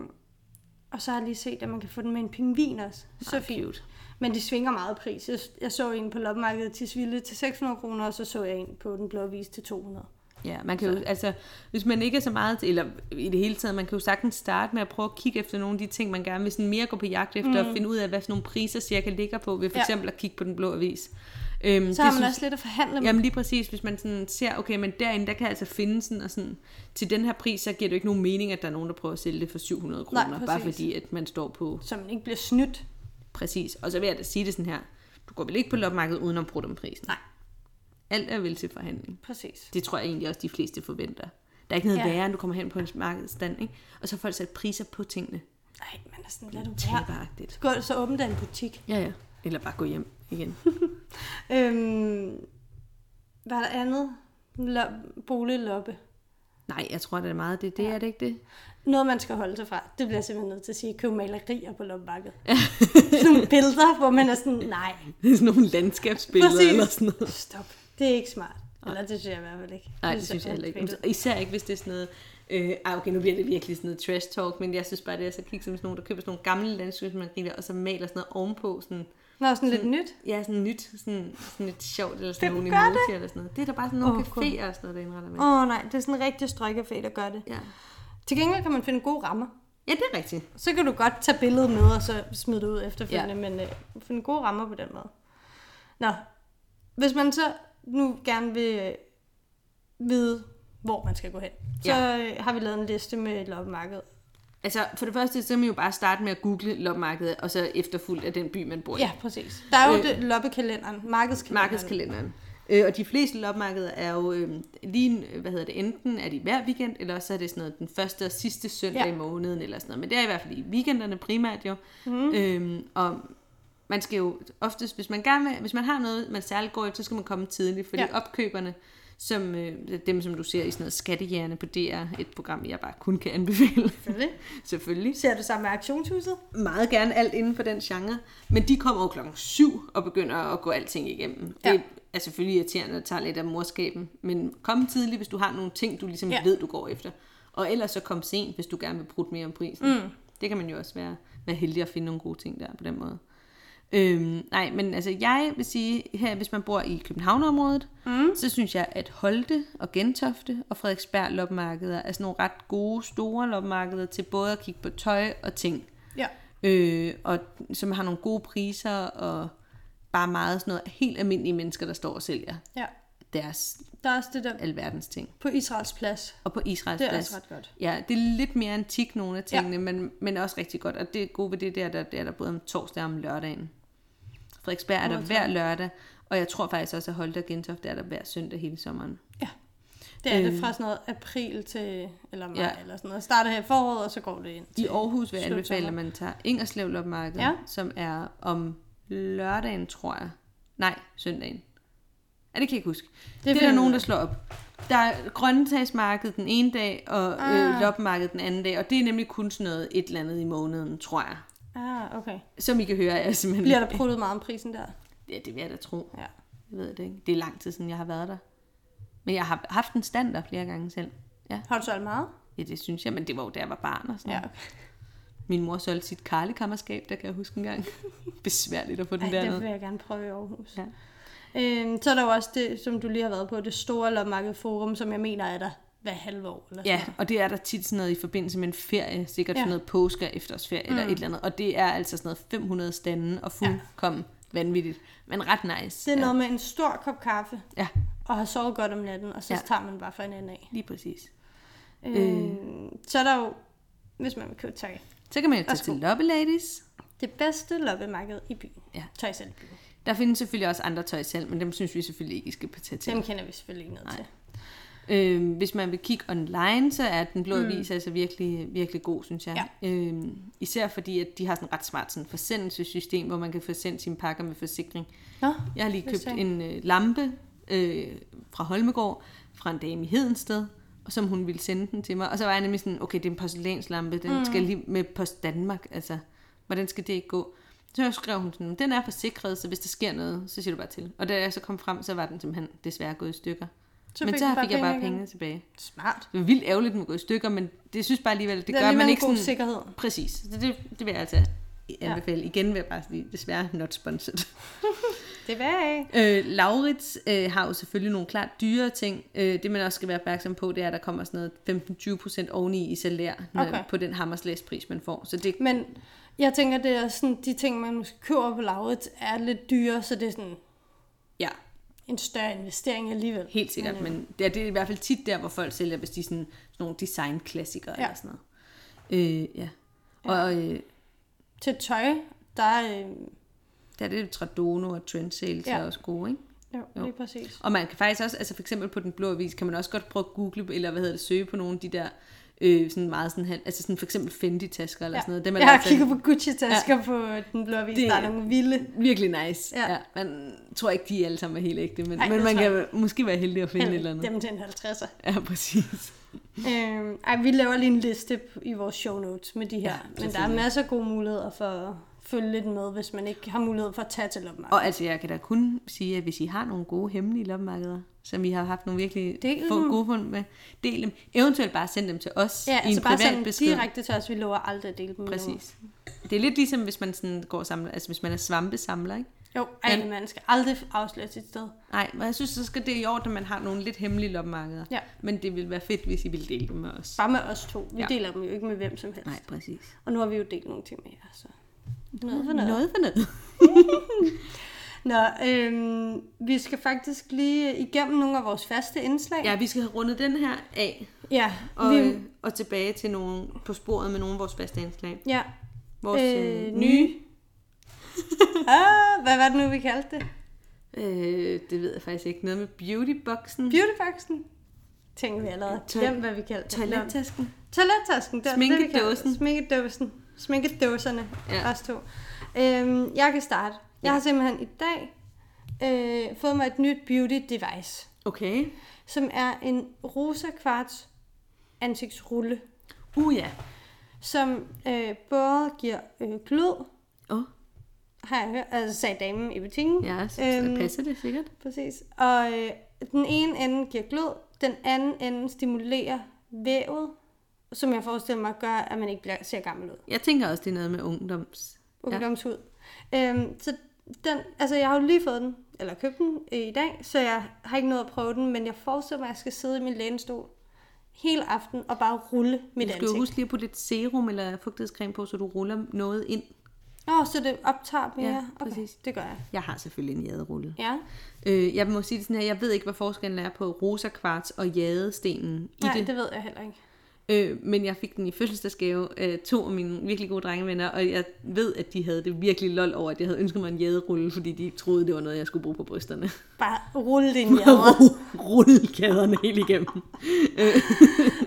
Speaker 1: og så har jeg lige set, at man kan få den med en pingvin også. Så
Speaker 2: Ej,
Speaker 1: fint.
Speaker 2: cute.
Speaker 1: Men de svinger meget i pris. Jeg, jeg så en på loppemarkedet til Svilde til 600 kroner, og så så jeg en på den blå vis til 200.
Speaker 2: Ja, man kan jo, altså, hvis man ikke er så meget, til, eller i det hele taget, man kan jo sagtens starte med at prøve at kigge efter nogle af de ting, man gerne vil sådan mere gå på jagt efter, mm. og finde ud af, hvad sådan nogle priser cirka ligger på, ved for
Speaker 1: Ja.
Speaker 2: eksempel at kigge på den blå avis. Øhm,
Speaker 1: Så har man også lidt at forhandle med.
Speaker 2: Jamen lige præcis, hvis man sådan ser, okay, men derinde, der kan jeg altså finde sådan, og sådan, til den her pris, så giver det jo ikke nogen mening, at der er nogen, der prøver at sælge det for 700
Speaker 1: Nej,
Speaker 2: kroner, bare
Speaker 1: præcis.
Speaker 2: fordi, at man står på
Speaker 1: Så man ikke bliver snydt.
Speaker 2: præcis. Og så vil jeg da sige det sådan her, du går vel ikke på lopmarkedet uden at bruge dem prisen?
Speaker 1: Nej.
Speaker 2: Alt er vel til forhandling.
Speaker 1: Præcis.
Speaker 2: Det tror jeg egentlig også, de fleste forventer. Der er ikke noget
Speaker 1: Ja.
Speaker 2: ja. værre, end du kommer hen på en markedsstand, ikke? Og så har folk sat priser på tingene.
Speaker 1: Nej, man er sådan lidt
Speaker 2: Det er
Speaker 1: ja.
Speaker 2: bare det.
Speaker 1: Så, gå, så åbne der en butik.
Speaker 2: Ja, ja. Eller bare gå hjem igen.
Speaker 1: Øhm, hvad er der andet? Lo- boligloppe.
Speaker 2: Nej, jeg tror, det er meget det. Det er det ikke det?
Speaker 1: Noget, man skal holde sig fra, det bliver jeg simpelthen nødt til at sige, køb malerier på loppemarkedet. sådan nogle billeder, hvor man er sådan, nej,
Speaker 2: Det er sådan nogle landskabsbilleder
Speaker 1: Præcis.
Speaker 2: eller sådan noget.
Speaker 1: stop, det er ikke smart. Eller det synes jeg i hvert fald ikke.
Speaker 2: Nej, det synes jeg heller ikke. Især ikke, hvis det er sådan noget... Øh, ah, okay, nu bliver det virkelig sådan noget trash talk, men jeg synes bare, det er så kigge som sådan nogen, der køber sådan nogle gamle landskabsmalerier, og så maler sådan noget ovenpå, sådan,
Speaker 1: Nå, sådan lidt nyt.
Speaker 2: ja, sådan nyt, sådan, sådan lidt sjovt, eller sådan
Speaker 1: Hvem gør
Speaker 2: nogle
Speaker 1: det?
Speaker 2: emoji eller sådan noget. Det er da bare sådan nogle
Speaker 1: Åh,
Speaker 2: oh, caféer og sådan noget, der indretter med.
Speaker 1: Åh oh, nej, det er sådan en rigtig strøjkefæ, der gør det.
Speaker 2: Ja.
Speaker 1: Til gengæld kan man finde gode rammer.
Speaker 2: ja, det er rigtigt.
Speaker 1: Så kan du godt tage billedet med, og så smide det ud efterfølgende, ja.
Speaker 2: Ja.
Speaker 1: men øh, finde gode rammer på den måde. Nå, hvis man så nu gerne vil øh, vide, hvor man skal gå hen, så øh, har vi lavet en liste med loppemarkedet.
Speaker 2: Altså, for det første, så kan man jo bare starte med at google lopmarkedet, og så efterfulgt af den by, man bor i.
Speaker 1: Ja, præcis. Der er jo
Speaker 2: Øh.
Speaker 1: det, loppekalenderen, markedskalenderen.
Speaker 2: Markedskalenderen. Øh, og de fleste lopmarkeder er jo øh, lige, øh, hvad hedder det, enten er de hver weekend, eller også er det sådan noget den første og sidste søndag
Speaker 1: Ja.
Speaker 2: ja. i måneden, eller sådan noget. Men det er i hvert fald i weekenderne primært jo. Mm. Øhm, og man skal jo oftest, hvis man, gerne vil, hvis man har noget, man særligt går efter, så skal man komme tidligt, fordi
Speaker 1: Ja.
Speaker 2: ja. opkøberne, som øh, dem, som du ser i sådan noget skattehjerne på DR, et program, jeg bare kun kan anbefale,
Speaker 1: Selvfølgelig.
Speaker 2: selvfølgelig.
Speaker 1: Ser du sammen med auktionshuset?
Speaker 2: meget gerne alt inden for den genre, men de kommer jo klokken 7 og begynder at gå alting igennem.
Speaker 1: Ja.
Speaker 2: Ja. Det er selvfølgelig irriterende at tage lidt af morskaben, men kom tidligt, hvis du har nogle ting, du ligesom
Speaker 1: Ja.
Speaker 2: ja. ved, du går efter. Og ellers så kom sent, hvis du gerne vil bruge mere om prisen. Mm. Det kan man jo også være, være heldig at finde nogle gode ting der på den måde. Øhm, nej, men altså jeg vil sige, her hvis man bor i Københavnområdet, mm. så synes jeg, at Holte og Gentofte og Frederiksberg lopmarkeder er sådan nogle ret gode, store lopmarkeder til både at kigge på tøj og ting.
Speaker 1: Ja.
Speaker 2: Øh, og som har nogle gode priser og bare meget sådan noget helt almindelige mennesker, der står og sælger
Speaker 1: ja.
Speaker 2: deres
Speaker 1: Der er også det der
Speaker 2: alverdens ting.
Speaker 1: på Israels plads.
Speaker 2: Og på Israels
Speaker 1: Det er
Speaker 2: plads.
Speaker 1: også ret godt.
Speaker 2: Ja, det er lidt mere antik nogle af tingene, ja. men, men også rigtig godt. Og det gode ved det der, der, der er der både om torsdag og om lørdagen. Frederiksberg er der hver lørdag, og jeg tror faktisk også, at Holte og Gentofte er der hver søndag hele sommeren.
Speaker 1: Ja. Det er det fra sådan noget april til, eller maj,
Speaker 2: Ja.
Speaker 1: ja. eller sådan noget. Starter her i foråret, og så går det ind.
Speaker 2: I Aarhus vil jeg
Speaker 1: slut
Speaker 2: anbefale,
Speaker 1: sommer.
Speaker 2: at man tager Ingerslev Lopmarked, ja.
Speaker 1: Ja.
Speaker 2: som er om lørdagen, tror jeg. Nej, søndagen. Ja, det kan jeg ikke huske. Det, det er
Speaker 1: finder
Speaker 2: der
Speaker 1: vi
Speaker 2: nogen,
Speaker 1: ud
Speaker 2: der
Speaker 1: af.
Speaker 2: slår op. Der er grøntsagsmarked den ene dag, og ah. øh, lopmarked den anden dag, og det er nemlig kun sådan noget et eller andet i måneden, tror jeg.
Speaker 1: Ah, okay.
Speaker 2: Som I kan høre, er jeg simpelthen...
Speaker 1: Bliver der pruttet meget om prisen der?
Speaker 2: Ja, det vil jeg da tro.
Speaker 1: Ja.
Speaker 2: Jeg ved det ikke. Det er lang tid siden, jeg har været der. Men jeg har haft en stand der flere gange selv. Ja.
Speaker 1: Har du solgt meget?
Speaker 2: ja, det synes jeg, men det var jo, da jeg var barn og sådan
Speaker 1: Ja.
Speaker 2: noget. Min mor solgte sit karlekammerskab, der kan jeg huske engang. Besværligt at få den
Speaker 1: Ej, det
Speaker 2: dernede.
Speaker 1: vil jeg gerne prøve i Aarhus.
Speaker 2: Ja.
Speaker 1: Øhm, så er der jo også det, som du lige har været på, det store lopmarked forum, som jeg mener er der hver halve år. Eller
Speaker 2: Ja, og det er der tit sådan noget i forbindelse med en ferie, sikkert ja.
Speaker 1: Ja.
Speaker 2: sådan noget påske og efterårsferie mm. eller et eller andet. Og det er altså sådan noget 500 stande og fuldkommen ja. vanvittigt, men ret
Speaker 1: Det er
Speaker 2: nice.
Speaker 1: ja.
Speaker 2: ja.
Speaker 1: noget med en stor kop kaffe,
Speaker 2: ja,
Speaker 1: og har sovet godt om natten, og så
Speaker 2: Ja. Øh.
Speaker 1: ja. tager man bare for en ende af.
Speaker 2: lige præcis.
Speaker 1: Øhm, så er der jo, hvis man vil købe tøj,
Speaker 2: Så kan man jo tage
Speaker 1: Værsgo.
Speaker 2: til Lobby Ladies.
Speaker 1: det bedste loppemarked i byen.
Speaker 2: Ja.
Speaker 1: Tøjselbyen.
Speaker 2: Der findes selvfølgelig også andre tøj selv, men dem synes vi selvfølgelig ikke, I skal tage til.
Speaker 1: Dem kender vi selvfølgelig ikke noget
Speaker 2: Nej.
Speaker 1: til.
Speaker 2: Øhm, hvis man vil kigge online, så er den blå avis mm. altså virkelig, virkelig god, synes jeg. Ja. Øhm, især fordi, at de har sådan et ret smart sådan forsendelsessystem, hvor man kan forsende sine pakker med forsikring.
Speaker 1: Nå,
Speaker 2: Jeg har lige
Speaker 1: Hvad
Speaker 2: købt
Speaker 1: sagde
Speaker 2: en øh, lampe øh, fra Holmegård, fra en dame i Hedensted, og som hun ville sende den til mig. Og så var jeg nemlig sådan, okay, det er en porcelænslampe, den mm. skal lige med Post Danmark, altså, hvordan skal det ikke gå? Så skrev hun sådan, den er forsikret, så hvis der sker noget, så siger du bare til. Og da jeg så kom frem, så var den simpelthen desværre gået i stykker. Så men
Speaker 1: fik
Speaker 2: så
Speaker 1: du
Speaker 2: fik jeg bare
Speaker 1: igen.
Speaker 2: pengene tilbage.
Speaker 1: Smart.
Speaker 2: Det var vildt ærgerligt, at den går i stykker, men det synes bare alligevel,
Speaker 1: Det,
Speaker 2: det, det
Speaker 1: det
Speaker 2: gør,
Speaker 1: er
Speaker 2: at man
Speaker 1: alligevel
Speaker 2: ikke
Speaker 1: en god
Speaker 2: sådan...
Speaker 1: sådan... sikkerhed.
Speaker 2: Præcis, det, det, det vil jeg altså anbefale. Ja. Igen vil jeg bare sige, desværre not sponsored.
Speaker 1: Det er værd.
Speaker 2: Øh, Laurits øh, har jo selvfølgelig nogle klart dyre ting. Øh, det man også skal være opmærksom på, det er, at der kommer sådan noget 15-20% oveni i salær når-
Speaker 1: Okay.
Speaker 2: på den hammerslæspris, man får. Så det,
Speaker 1: Men jeg tænker, det er sådan, de ting, man måske køber på lavet, er lidt dyre, så det er sådan
Speaker 2: ja,
Speaker 1: en større investering alligevel. øh,
Speaker 2: helt sikkert. Men det er, det er i hvert fald tit der, hvor folk sælger, hvis de er sådan, sådan nogle designklassikere ja.
Speaker 1: Ja.
Speaker 2: eller sådan noget. Øh, ja. Og øh,
Speaker 1: Til tøj, der er... Øh,
Speaker 2: der er det Tradono og Trendsales ja.
Speaker 1: Ja.
Speaker 2: er også gode, ikke?
Speaker 1: jo, jo, lige præcis.
Speaker 2: Og man kan faktisk også, altså for eksempel på Den Blå Avis, kan man også godt prøve at google, eller hvad hedder det, søge på nogle af de der, øh, sådan meget sådan, hal- altså sådan for eksempel Fendi-tasker eller ja. sådan noget. Dem er
Speaker 1: jeg
Speaker 2: der
Speaker 1: har
Speaker 2: altså-
Speaker 1: kigget på Gucci-tasker ja. på den blå avis.
Speaker 2: Det-
Speaker 1: Det... Der er nogle vilde.
Speaker 2: Virkelig nice. Ja.
Speaker 1: Ja.
Speaker 2: ja. Man tror ikke, de alle sammen er helt ægte, men, Ej,
Speaker 1: Nej,
Speaker 2: men
Speaker 1: det
Speaker 2: man
Speaker 1: tror
Speaker 2: kan måske være heldig at finde et eller andet.
Speaker 1: Dem til en 50'er.
Speaker 2: Ja, præcis.
Speaker 1: Øh, ej, vi laver lige en liste i vores show notes med de her.
Speaker 2: Ja,
Speaker 1: Ja, men der er
Speaker 2: selvfølgelig.
Speaker 1: masser af gode muligheder for at følge lidt med, hvis man ikke har mulighed for at tage til loppemarkedet.
Speaker 2: Og altså, jeg kan da kun sige, at hvis I har nogle gode hemmelige loppemarkeder, som I har haft nogle virkelig
Speaker 1: Del
Speaker 2: få
Speaker 1: dem.
Speaker 2: gode fund med, del dem. Eventuelt bare send dem til os
Speaker 1: Ja,
Speaker 2: i en
Speaker 1: altså bare
Speaker 2: privat
Speaker 1: sådan
Speaker 2: besked.
Speaker 1: direkte til os. Vi lover aldrig at dele dem med nogen.
Speaker 2: Præcis. Det er lidt ligesom, hvis man sådan går og samler, altså hvis man er svampesamler, ikke?
Speaker 1: Jo, ej,
Speaker 2: Men-
Speaker 1: man skal aldrig afsløre sit sted.
Speaker 2: Nej, men jeg synes, så skal det i orden, at man har nogle lidt hemmelige loppemarkeder.
Speaker 1: Ja.
Speaker 2: Men det ville være fedt, hvis I ville dele dem med os.
Speaker 1: Bare med os to. Vi
Speaker 2: Ja.
Speaker 1: ja. deler dem jo ikke med hvem som helst.
Speaker 2: Nej, præcis.
Speaker 1: Og nu har vi jo delt nogle ting med jer, så... Noget for noget.
Speaker 2: Noget for noget.
Speaker 1: Nå, øhm, vi skal faktisk lige igennem nogle af vores faste indslag.
Speaker 2: Ja, vi skal have rundet den her af.
Speaker 1: ja
Speaker 2: Og,
Speaker 1: vi,
Speaker 2: øh, og tilbage til nogen på sporet med nogle af vores faste indslag.
Speaker 1: ja.
Speaker 2: Vores øh,
Speaker 1: Øh,
Speaker 2: nye,
Speaker 1: Ah, hvad var det nu, vi kaldte det?
Speaker 2: Mm. øh, det ved jeg faktisk ikke, noget med beautyboxen,
Speaker 1: Beautyboxen? Tænker vi allerede.
Speaker 2: Toil-
Speaker 1: Glem, hvad vi kaldte det.
Speaker 2: toilettasken.
Speaker 1: Toilettasken. Det var det, vi kaldte det.
Speaker 2: Sminkedåsen.
Speaker 1: Sminkedåsen. Sminkedåserne.
Speaker 2: Ja.
Speaker 1: Ja. Os to. Øhm, jeg kan starte. Jeg har simpelthen i dag øh, fået mig et nyt beauty device,
Speaker 2: Okay.
Speaker 1: som er en rosa kvarts ansigtsrulle,
Speaker 2: Uh ja.
Speaker 1: som øh, både giver øh, glød,
Speaker 2: Åh, oh,
Speaker 1: har jeg hørt, altså sagde damen i butikken.
Speaker 2: ja, så øhm,
Speaker 1: Øhm,
Speaker 2: passer det sikkert.
Speaker 1: Præcis. Og øh, den ene ende giver glød, den anden ende stimulerer vævet, som jeg forestiller mig gør, at man ikke bliver, ser gammel ud.
Speaker 2: Jeg tænker også, det er noget med ungdoms. Ja.
Speaker 1: Ungdomshud. Ja. Øhm, så den, altså jeg har jo lige fået den, eller købt den øh, i dag, så jeg har ikke nået at prøve den, men jeg forestiller mig, at jeg skal sidde i min lænestol hele aften og bare rulle mit
Speaker 2: Du skal jo
Speaker 1: ansigt.
Speaker 2: huske lige at putte lidt serum eller fugtighedscreme på, så du ruller noget ind.
Speaker 1: Åh, oh, så det optager mere?
Speaker 2: Ja,
Speaker 1: okay,
Speaker 2: præcis.
Speaker 1: det gør jeg.
Speaker 2: Jeg har selvfølgelig en jaderulle.
Speaker 1: Ja,
Speaker 2: Øh, jeg må sige det sådan her, jeg ved ikke, hvad forskellen er på rosa kvarts og jadestenen i
Speaker 1: nej,
Speaker 2: det.
Speaker 1: det. det ved jeg heller ikke.
Speaker 2: Øh, men jeg fik den i fødselsdagsgave øh, to af mine virkelig gode drengevenner, og jeg ved, at de havde det virkelig lol over, at jeg havde ønsket mig en jaderulle, fordi de troede, det var noget, jeg skulle bruge på brysterne.
Speaker 1: Bare rulle dine jader.
Speaker 2: Rullekaderne helt igennem.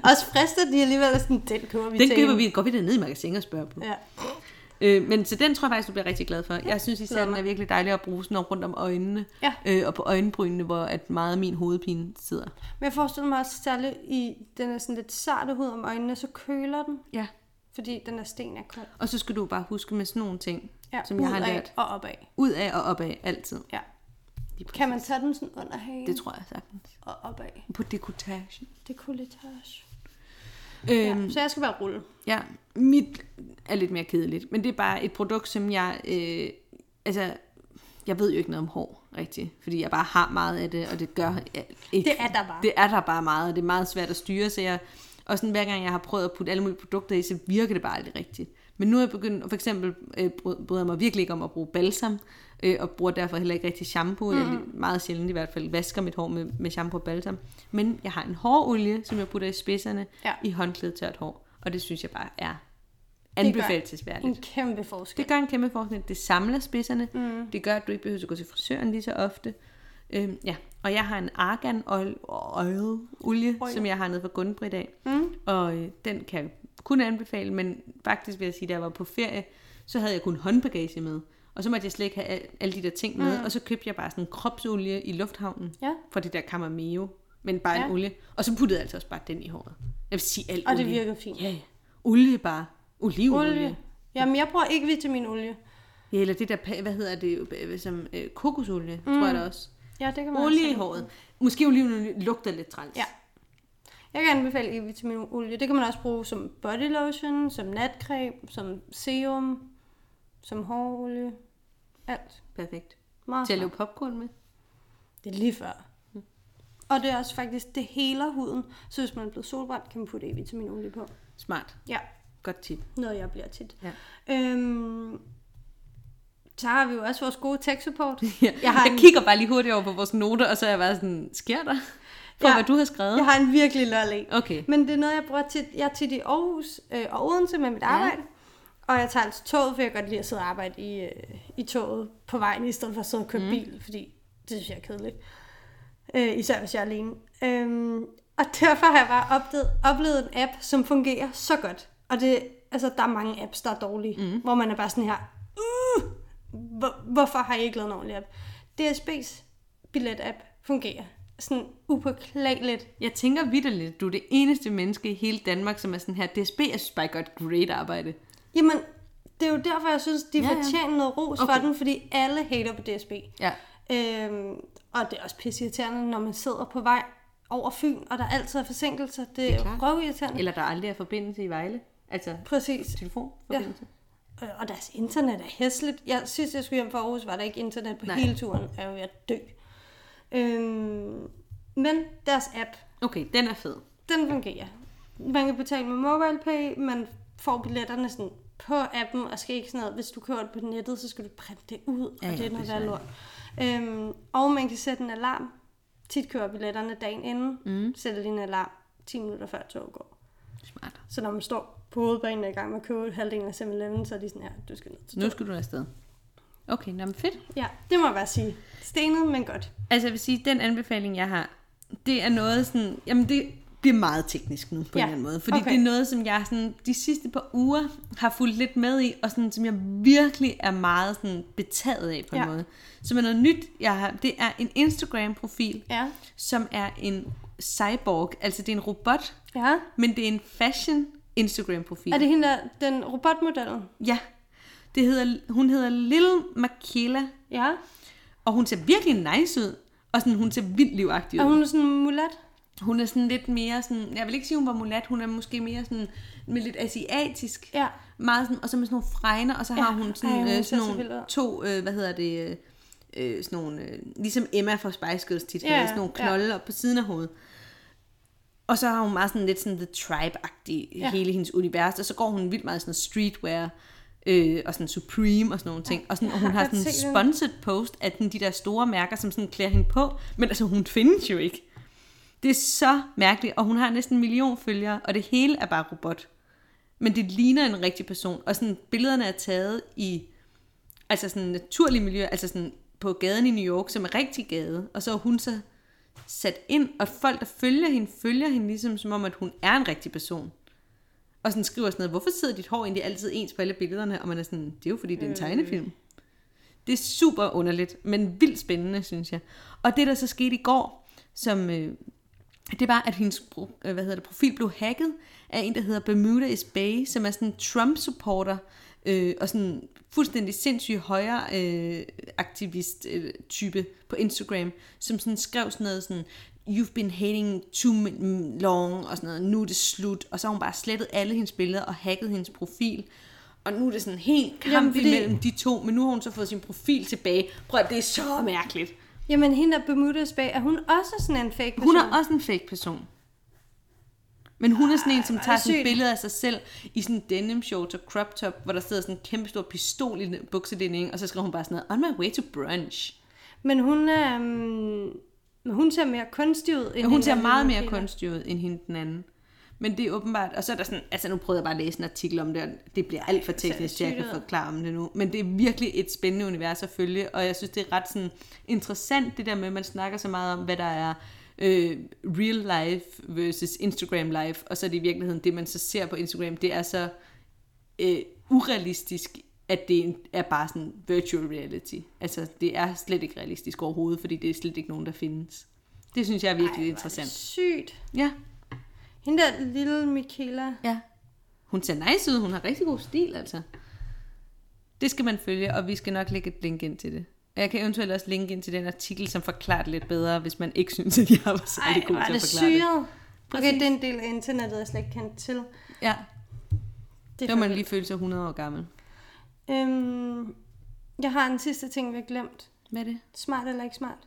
Speaker 1: Også frister de alligevel er sådan, den køber vi
Speaker 2: Den
Speaker 1: til.
Speaker 2: køber vi, går vi derned i magasin og spørger på.
Speaker 1: Ja.
Speaker 2: Øh, men så den tror jeg faktisk, du bliver rigtig glad for. Jeg synes især, den er virkelig dejlig at bruge sådan om- rundt om øjnene,
Speaker 1: Ja.
Speaker 2: øh, og på øjenbrynene, hvor at meget af min hovedpine sidder.
Speaker 1: Men jeg forestiller mig også særligt i den er sådan lidt sarte hud om øjnene, så køler den,
Speaker 2: Ja.
Speaker 1: fordi den der sten er kold.
Speaker 2: Og så skal du bare huske med sådan nogle ting,
Speaker 1: Ja,
Speaker 2: som jeg har
Speaker 1: udad
Speaker 2: lært.
Speaker 1: og opad.
Speaker 2: Ud af og opad, altid.
Speaker 1: Ja.
Speaker 2: Lige præcis.
Speaker 1: Kan man tage den sådan under hagen
Speaker 2: Det tror jeg sagtens.
Speaker 1: og opad?
Speaker 2: På dekotage.
Speaker 1: Det kunne lidt tørs.
Speaker 2: Øhm,
Speaker 1: Ja, så jeg skal bare rulle.
Speaker 2: Ja, mit er lidt mere kedeligt, men det er bare et produkt, som jeg, øh, altså, jeg ved jo ikke noget om hår, rigtigt, fordi jeg bare har meget af det, og det gør jeg ikke.
Speaker 1: Det er der bare.
Speaker 2: Det er der bare meget, og det er meget svært at styre, så jeg, og sådan hver gang jeg har prøvet at putte alle mulige produkter i, så virker det bare aldrig rigtigt. Men nu er jeg begyndt, for eksempel øh, bry- bryder jeg mig virkelig ikke om at bruge balsam, øh, og bruger derfor heller ikke rigtig shampoo. Mm. Jeg meget sjældent i hvert fald vasker mit hår med, med shampoo og balsam. Men jeg har en hårolie, som jeg putter i spidserne
Speaker 1: Ja.
Speaker 2: i håndklædetørt hår, og det synes jeg bare er
Speaker 1: gør-
Speaker 2: anbefalesværdigt.
Speaker 1: En kæmpe forskel.
Speaker 2: Det gør en kæmpe forskel. Det samler spidserne. Mm. Det gør, at du ikke behøver at gå til frisøren lige så ofte. Øhm, ja. Og jeg har en argan oil, oil olie, oil. som jeg har nede fra Gunnbrit af. Mm. Og øh, den kan jeg kun anbefale, men faktisk vil jeg sige, da jeg var på ferie, så havde jeg kun håndbagage med. Og så måtte jeg slet ikke have al- alle de der ting med. Mm. Og så købte jeg bare sådan en kropsolie i lufthavnen
Speaker 1: Ja.
Speaker 2: fra det der Camameo. Men bare ja.
Speaker 1: Ja.
Speaker 2: en olie. Og så puttede jeg altså også bare den i håret. Jeg vil sige alt
Speaker 1: Og det
Speaker 2: olie.
Speaker 1: virker fint.
Speaker 2: Ja, ja. Olie bare. Olivenolie.
Speaker 1: Olie. Jamen, jeg bruger ikke vitaminolie.
Speaker 2: Ja, eller det der, pa- hvad hedder det, øh, som øh, kokosolie, mm. tror jeg da også.
Speaker 1: Ja, det kan man
Speaker 2: Olie i
Speaker 1: også.
Speaker 2: håret. Måske olivenolie lugter lidt træls.
Speaker 1: Ja. Jeg kan anbefale E-vitaminolie. Det kan man også bruge som body lotion, som natcreme, som serum, som hårolie. Alt.
Speaker 2: Perfekt.
Speaker 1: Meget
Speaker 2: Til at
Speaker 1: smart.
Speaker 2: lave popcorn med.
Speaker 1: Det er lige før. Mm. Og det er også faktisk, det heler huden. Så hvis man er blevet solbrændt, kan man putte E-vitaminolie på.
Speaker 2: Smart.
Speaker 1: Ja,
Speaker 2: Godt tip.
Speaker 1: noget jeg bliver tit.
Speaker 2: Ja.
Speaker 1: Øhm, så har vi jo også vores gode tech-support.
Speaker 2: Ja. Jeg, har jeg en... kigger bare lige hurtigt over på vores noter, og så er jeg bare sådan, sker der?
Speaker 1: Ja.
Speaker 2: For ja. hvad du har skrevet?
Speaker 1: Jeg har en virkelig lol en.
Speaker 2: Okay.
Speaker 1: Men det er noget, jeg bruger tit. Jeg er tit i Aarhus øh, og Odense med mit arbejde. Og jeg tager altså toget, for jeg kan godt lide at sidde og arbejde i, øh, i toget på vejen, i stedet for at sidde og køre mm. bil, fordi det synes jeg er kedeligt. Øh, især hvis jeg er alene. Øhm, og derfor har jeg bare opdaget, oplevet en app, som fungerer så godt. Og det, altså, der er mange apps, der er dårlige, mm. hvor man er bare sådan her, uh, hvor, hvorfor har I ikke lavet en ordentlig app? DSB's billet-app fungerer sådan upåklageligt
Speaker 2: Jeg tænker vidderligt, du er det eneste menneske i hele Danmark, som er sådan her, DSB, jeg synes bare, I gør et great arbejde.
Speaker 1: Jamen, det er jo derfor, jeg synes, de ja,
Speaker 2: Ja, ja.
Speaker 1: fortjener noget ros okay. for
Speaker 2: Okay.
Speaker 1: den, fordi alle hater på DSB.
Speaker 2: Ja.
Speaker 1: Øhm, og det er også pisseirriterende, når man sidder på vej over Fyn, og der altid er forsinkelser. Det er,
Speaker 2: er
Speaker 1: det
Speaker 2: klart.
Speaker 1: er røvirriterende.
Speaker 2: Eller der aldrig er forbindelse i Vejle. Altså,
Speaker 1: Præcis.
Speaker 2: telefonforbindelse. Ja.
Speaker 1: Øh, Og deres internet er hæsligt. Jeg, sidst jeg skulle hjem fra Aarhus, var der ikke internet på Nej.
Speaker 2: Nej.
Speaker 1: hele turen. Jeg er jo ved at dø. Øhm, men deres app,
Speaker 2: Okay, den er fed.
Speaker 1: den fungerer. Man kan betale med MobilePay, man får billetterne sådan på appen, og skal ikke sådan noget. Hvis du køber det på nettet, så skal du printe det ud,
Speaker 2: Ja,
Speaker 1: og det er
Speaker 2: ja,
Speaker 1: noget
Speaker 2: det er
Speaker 1: værd lort. Øhm, og man kan sætte en alarm. Tit kører billetterne dagen inden, mm. sætter lige en alarm 10 minutter før toget går.
Speaker 2: Smart.
Speaker 1: Så når man står på hovedbanen og er i gang med at købe halvdelen af 7-Eleven, så er de sådan her, du skal ned til
Speaker 2: Nu skal du afsted. Okay, nå, men fedt.
Speaker 1: Ja, det må jeg bare sige. Stenet, men godt.
Speaker 2: Altså jeg vil sige, den anbefaling, jeg har, det er noget sådan, jamen det bliver meget teknisk nu
Speaker 1: Ja,
Speaker 2: på en eller anden måde, fordi
Speaker 1: okay.
Speaker 2: okay. det er noget, som jeg sådan, de sidste par uger har fulgt lidt med i, og sådan, som jeg virkelig er meget sådan, betaget af på en
Speaker 1: Ja.
Speaker 2: måde. Som er noget nyt, jeg har, det er en Instagram-profil,
Speaker 1: Ja.
Speaker 2: som er en cyborg, altså det er en robot,
Speaker 1: Ja.
Speaker 2: men det er en fashion Instagram-profil.
Speaker 1: Er det hende der, den robotmodel?
Speaker 2: Ja. Det hedder, hun hedder Lil Makela,
Speaker 1: Ja.
Speaker 2: og hun ser virkelig nice ud, og sådan, hun ser vildt livagtig ud.
Speaker 1: Er hun sådan mulat?
Speaker 2: Hun er sådan lidt mere sådan, jeg vil ikke sige, hun var mulat, hun er måske mere sådan, med lidt asiatisk.
Speaker 1: Ja.
Speaker 2: meget sådan, og så med sådan nogle fregner, og så har
Speaker 1: Ja,
Speaker 2: hun sådan,
Speaker 1: ej, hun
Speaker 2: øh,
Speaker 1: ser
Speaker 2: sådan
Speaker 1: så
Speaker 2: nogle
Speaker 1: vild ud.
Speaker 2: to, øh, hvad hedder det, øh, øh, sådan nogle, øh, ligesom Emma fra Spice Girls tit,
Speaker 1: Ja,
Speaker 2: ja, sådan nogle
Speaker 1: ja.
Speaker 2: knolde op på siden af hovedet. Og så har hun meget sådan lidt sådan The Tribe-agtig ja.
Speaker 1: Ja.
Speaker 2: hele hendes univers, og så går hun vildt meget i sådan noget streetwear, øh, og sådan Supreme og sådan nogle ting. Og, sådan, og hun har
Speaker 1: jeg
Speaker 2: sådan en
Speaker 1: set den.
Speaker 2: sponsored post af den, de der store mærker, som sådan klæder hende på, men altså hun findes jo ikke. Det er så mærkeligt, og hun har næsten en million følgere, og det hele er bare robot. Men det ligner en rigtig person, og sådan billederne er taget i altså sådan naturlig miljø, altså sådan på gaden i New York, som er rigtig gade, og så er hun så sat ind, og folk, der følger hende, følger hende ligesom som om, at hun er en rigtig person. Og sådan skriver sådan noget, hvorfor sidder dit hår egentlig altid ens på alle billederne? Og man er sådan, det er jo fordi, det er en tegnefilm. Det er super underligt, men vildt spændende, synes jeg. Og det, der så skete i går, som, øh, det var, at hendes pro- øh, hvad hedder det, profil blev hacket af en, der hedder Bermuda is Bay, som er sådan en Trump-supporter øh, og sådan fuldstændig sindssyg højre øh, aktivist øh, type på Instagram, som sådan skrev sådan noget sådan, you've been hating too m- long, og sådan noget, nu er det slut, og så har hun bare slettet alle hendes billeder og hacket hendes profil. Og nu er det sådan helt kamp Jamen,
Speaker 1: Jamen,
Speaker 2: fordi...
Speaker 1: fordi-
Speaker 2: imellem de to, men nu har hun så fået sin profil tilbage. Prøv at det er så mærkeligt.
Speaker 1: Jamen, hende der Bermudas bag, er hun også sådan en fake person?
Speaker 2: Hun er også en fake person. Men hun er sådan en, som
Speaker 1: er
Speaker 2: tager
Speaker 1: det
Speaker 2: sådan et
Speaker 1: sygt.
Speaker 2: billede af sig selv i sådan en denim shorts og crop top, hvor der sidder sådan en kæmpe stor pistol i den buksedænding, og så skriver hun bare sådan noget, on my way to brunch.
Speaker 1: Men hun er... Um, hun ser mere kunstig ud. End
Speaker 2: Hun
Speaker 1: hende
Speaker 2: ser
Speaker 1: der
Speaker 2: meget mere
Speaker 1: Bermuda.
Speaker 2: kunstig ud end hende den anden. Men det er åbenbart, og så er der sådan, altså nu prøvede jeg bare at læse en artikel om det, og det bliver alt for teknisk, til at jeg kan
Speaker 1: sygt ud.
Speaker 2: forklare om det nu. Men det er virkelig et spændende univers at følge, og jeg synes, det er ret sådan interessant, det der med, at man snakker så meget om, hvad der er øh, real life versus Instagram life, og så er det i virkeligheden, det man så ser på Instagram, det er så øh, urealistisk, at det er bare sådan virtual reality. Altså, det er slet ikke realistisk overhovedet, fordi det er slet ikke nogen, der findes. Det synes jeg er virkelig Ej,
Speaker 1: Ej,
Speaker 2: interessant.
Speaker 1: Sygt.
Speaker 2: Ja,
Speaker 1: Hende der lille Michaela.
Speaker 2: ja. Hun ser nice ud, hun har rigtig god stil, altså. Det skal man følge, og vi skal nok lægge et link ind til det. Og jeg kan eventuelt også linke ind til den artikel, som forklarer det lidt bedre, hvis man ikke synes, at jeg var særlig god
Speaker 1: hvor er
Speaker 2: til at
Speaker 1: det
Speaker 2: forklare det.
Speaker 1: syret. Okay,
Speaker 2: Præcis.
Speaker 1: det er en del af internettet, jeg slet ikke kendte til.
Speaker 2: Ja,
Speaker 1: Det
Speaker 2: så
Speaker 1: er
Speaker 2: må man
Speaker 1: for-
Speaker 2: lige føle sig 100 år gammel.
Speaker 1: øhm, jeg har en sidste ting, vi har glemt.
Speaker 2: Hvad er det?
Speaker 1: Smart eller ikke smart?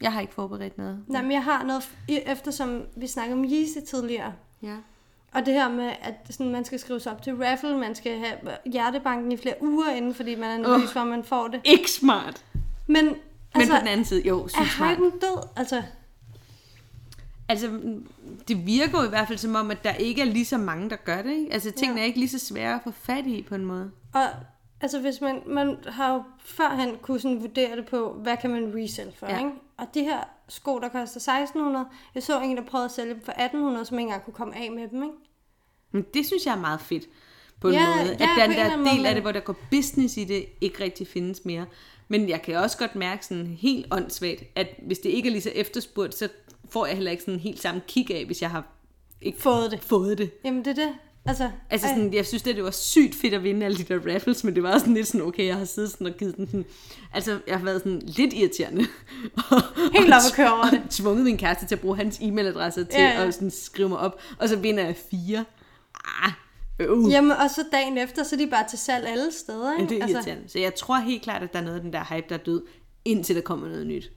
Speaker 2: Jeg har ikke forberedt noget.
Speaker 1: Nej, men jeg har noget, f- i- eftersom vi snakkede om Yeezy tidligere.
Speaker 2: Ja.
Speaker 1: Og det her med, at sådan, man skal skrive sig op til raffle, man skal have hjertebanken i flere uger inden, fordi man er nervøs
Speaker 2: Åh.
Speaker 1: for, at man får det.
Speaker 2: Ikke smart.
Speaker 1: Men,
Speaker 2: Men
Speaker 1: altså,
Speaker 2: på den anden side, jo, synes
Speaker 1: er
Speaker 2: smart.
Speaker 1: hypen død? Altså,
Speaker 2: Altså, det virker jo i hvert fald som om, at der ikke er lige så mange, der gør det. Ikke? Altså, tingene ja. er ikke lige så svære at få fat i på en måde.
Speaker 1: Og altså, hvis man, man har jo førhen kunne sådan vurdere det på, hvad kan man resell for,
Speaker 2: Ja.
Speaker 1: ja. ikke? Og de her sko, der koster 1600, jeg så en, der prøvede at sælge dem for 1800, som ikke engang kunne komme af med dem, ikke?
Speaker 2: Men det synes jeg er meget fedt på en
Speaker 1: Ja,
Speaker 2: måde.
Speaker 1: ja,
Speaker 2: At
Speaker 1: på en
Speaker 2: den
Speaker 1: eller
Speaker 2: der
Speaker 1: anden
Speaker 2: del
Speaker 1: måde,
Speaker 2: af
Speaker 1: men-
Speaker 2: det, hvor der går business i det, ikke rigtig findes mere. Men jeg kan også godt mærke sådan helt åndssvagt, at hvis det ikke er lige så efterspurgt, så får jeg heller ikke sådan helt samme kig af, hvis jeg har ikke
Speaker 1: Fået det.
Speaker 2: Fået det.
Speaker 1: Jamen, det er det. Altså,
Speaker 2: Altså
Speaker 1: ej,
Speaker 2: sådan, jeg synes at det var sygt fedt at vinde alle de der raffles, men det var sådan lidt sådan, okay, jeg har siddet sådan og givet den sådan, altså jeg har været sådan lidt irriterende.
Speaker 1: Helt op at køre over
Speaker 2: og
Speaker 1: det.
Speaker 2: tvunget min kæreste til at bruge hans e-mailadresse til
Speaker 1: Ja,
Speaker 2: ja,
Speaker 1: ja.
Speaker 2: ja. at sådan skrive mig op, og så vinder jeg fire. Ah, øv. Ja,
Speaker 1: Jamen, og så dagen efter, så er de bare til salg alle steder, ikke?
Speaker 2: men det er
Speaker 1: altså,
Speaker 2: irriterende. Så jeg tror helt klart, at der er noget af den der hype, der er død, indtil der kommer noget nyt.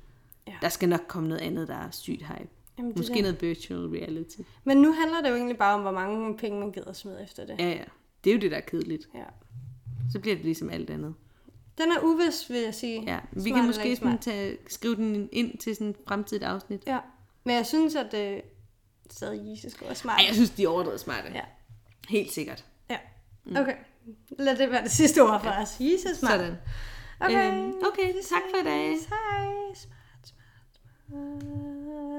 Speaker 1: Ja.
Speaker 2: Der skal nok komme noget andet, der er sygt hype.
Speaker 1: Jamen, det er
Speaker 2: Måske
Speaker 1: det.
Speaker 2: noget virtual reality.
Speaker 1: men nu handler det jo egentlig bare om, hvor mange penge man gider smide efter det.
Speaker 2: Ja, ja. Det er jo det, der er kedeligt.
Speaker 1: Ja.
Speaker 2: Så bliver det ligesom alt andet.
Speaker 1: Den er uvis, vil jeg sige.
Speaker 2: Ja, vi
Speaker 1: Smart
Speaker 2: kan
Speaker 1: eller
Speaker 2: måske
Speaker 1: ikke
Speaker 2: sådan
Speaker 1: smart?
Speaker 2: tage, skrive den ind til sådan et fremtidigt afsnit.
Speaker 1: Ja. Men jeg synes, at øh, stadig Jesus sko er smart.
Speaker 2: Ej, jeg synes, de er overdrevet smarte.
Speaker 1: Ja.
Speaker 2: Helt sikkert.
Speaker 1: Ja, okay. Lad det være det sidste ord for os. Jesus, smart.
Speaker 2: Sådan.
Speaker 1: Okay.
Speaker 2: Øhm, okay, tak for i dag.
Speaker 1: Hej, smart, smart, smart.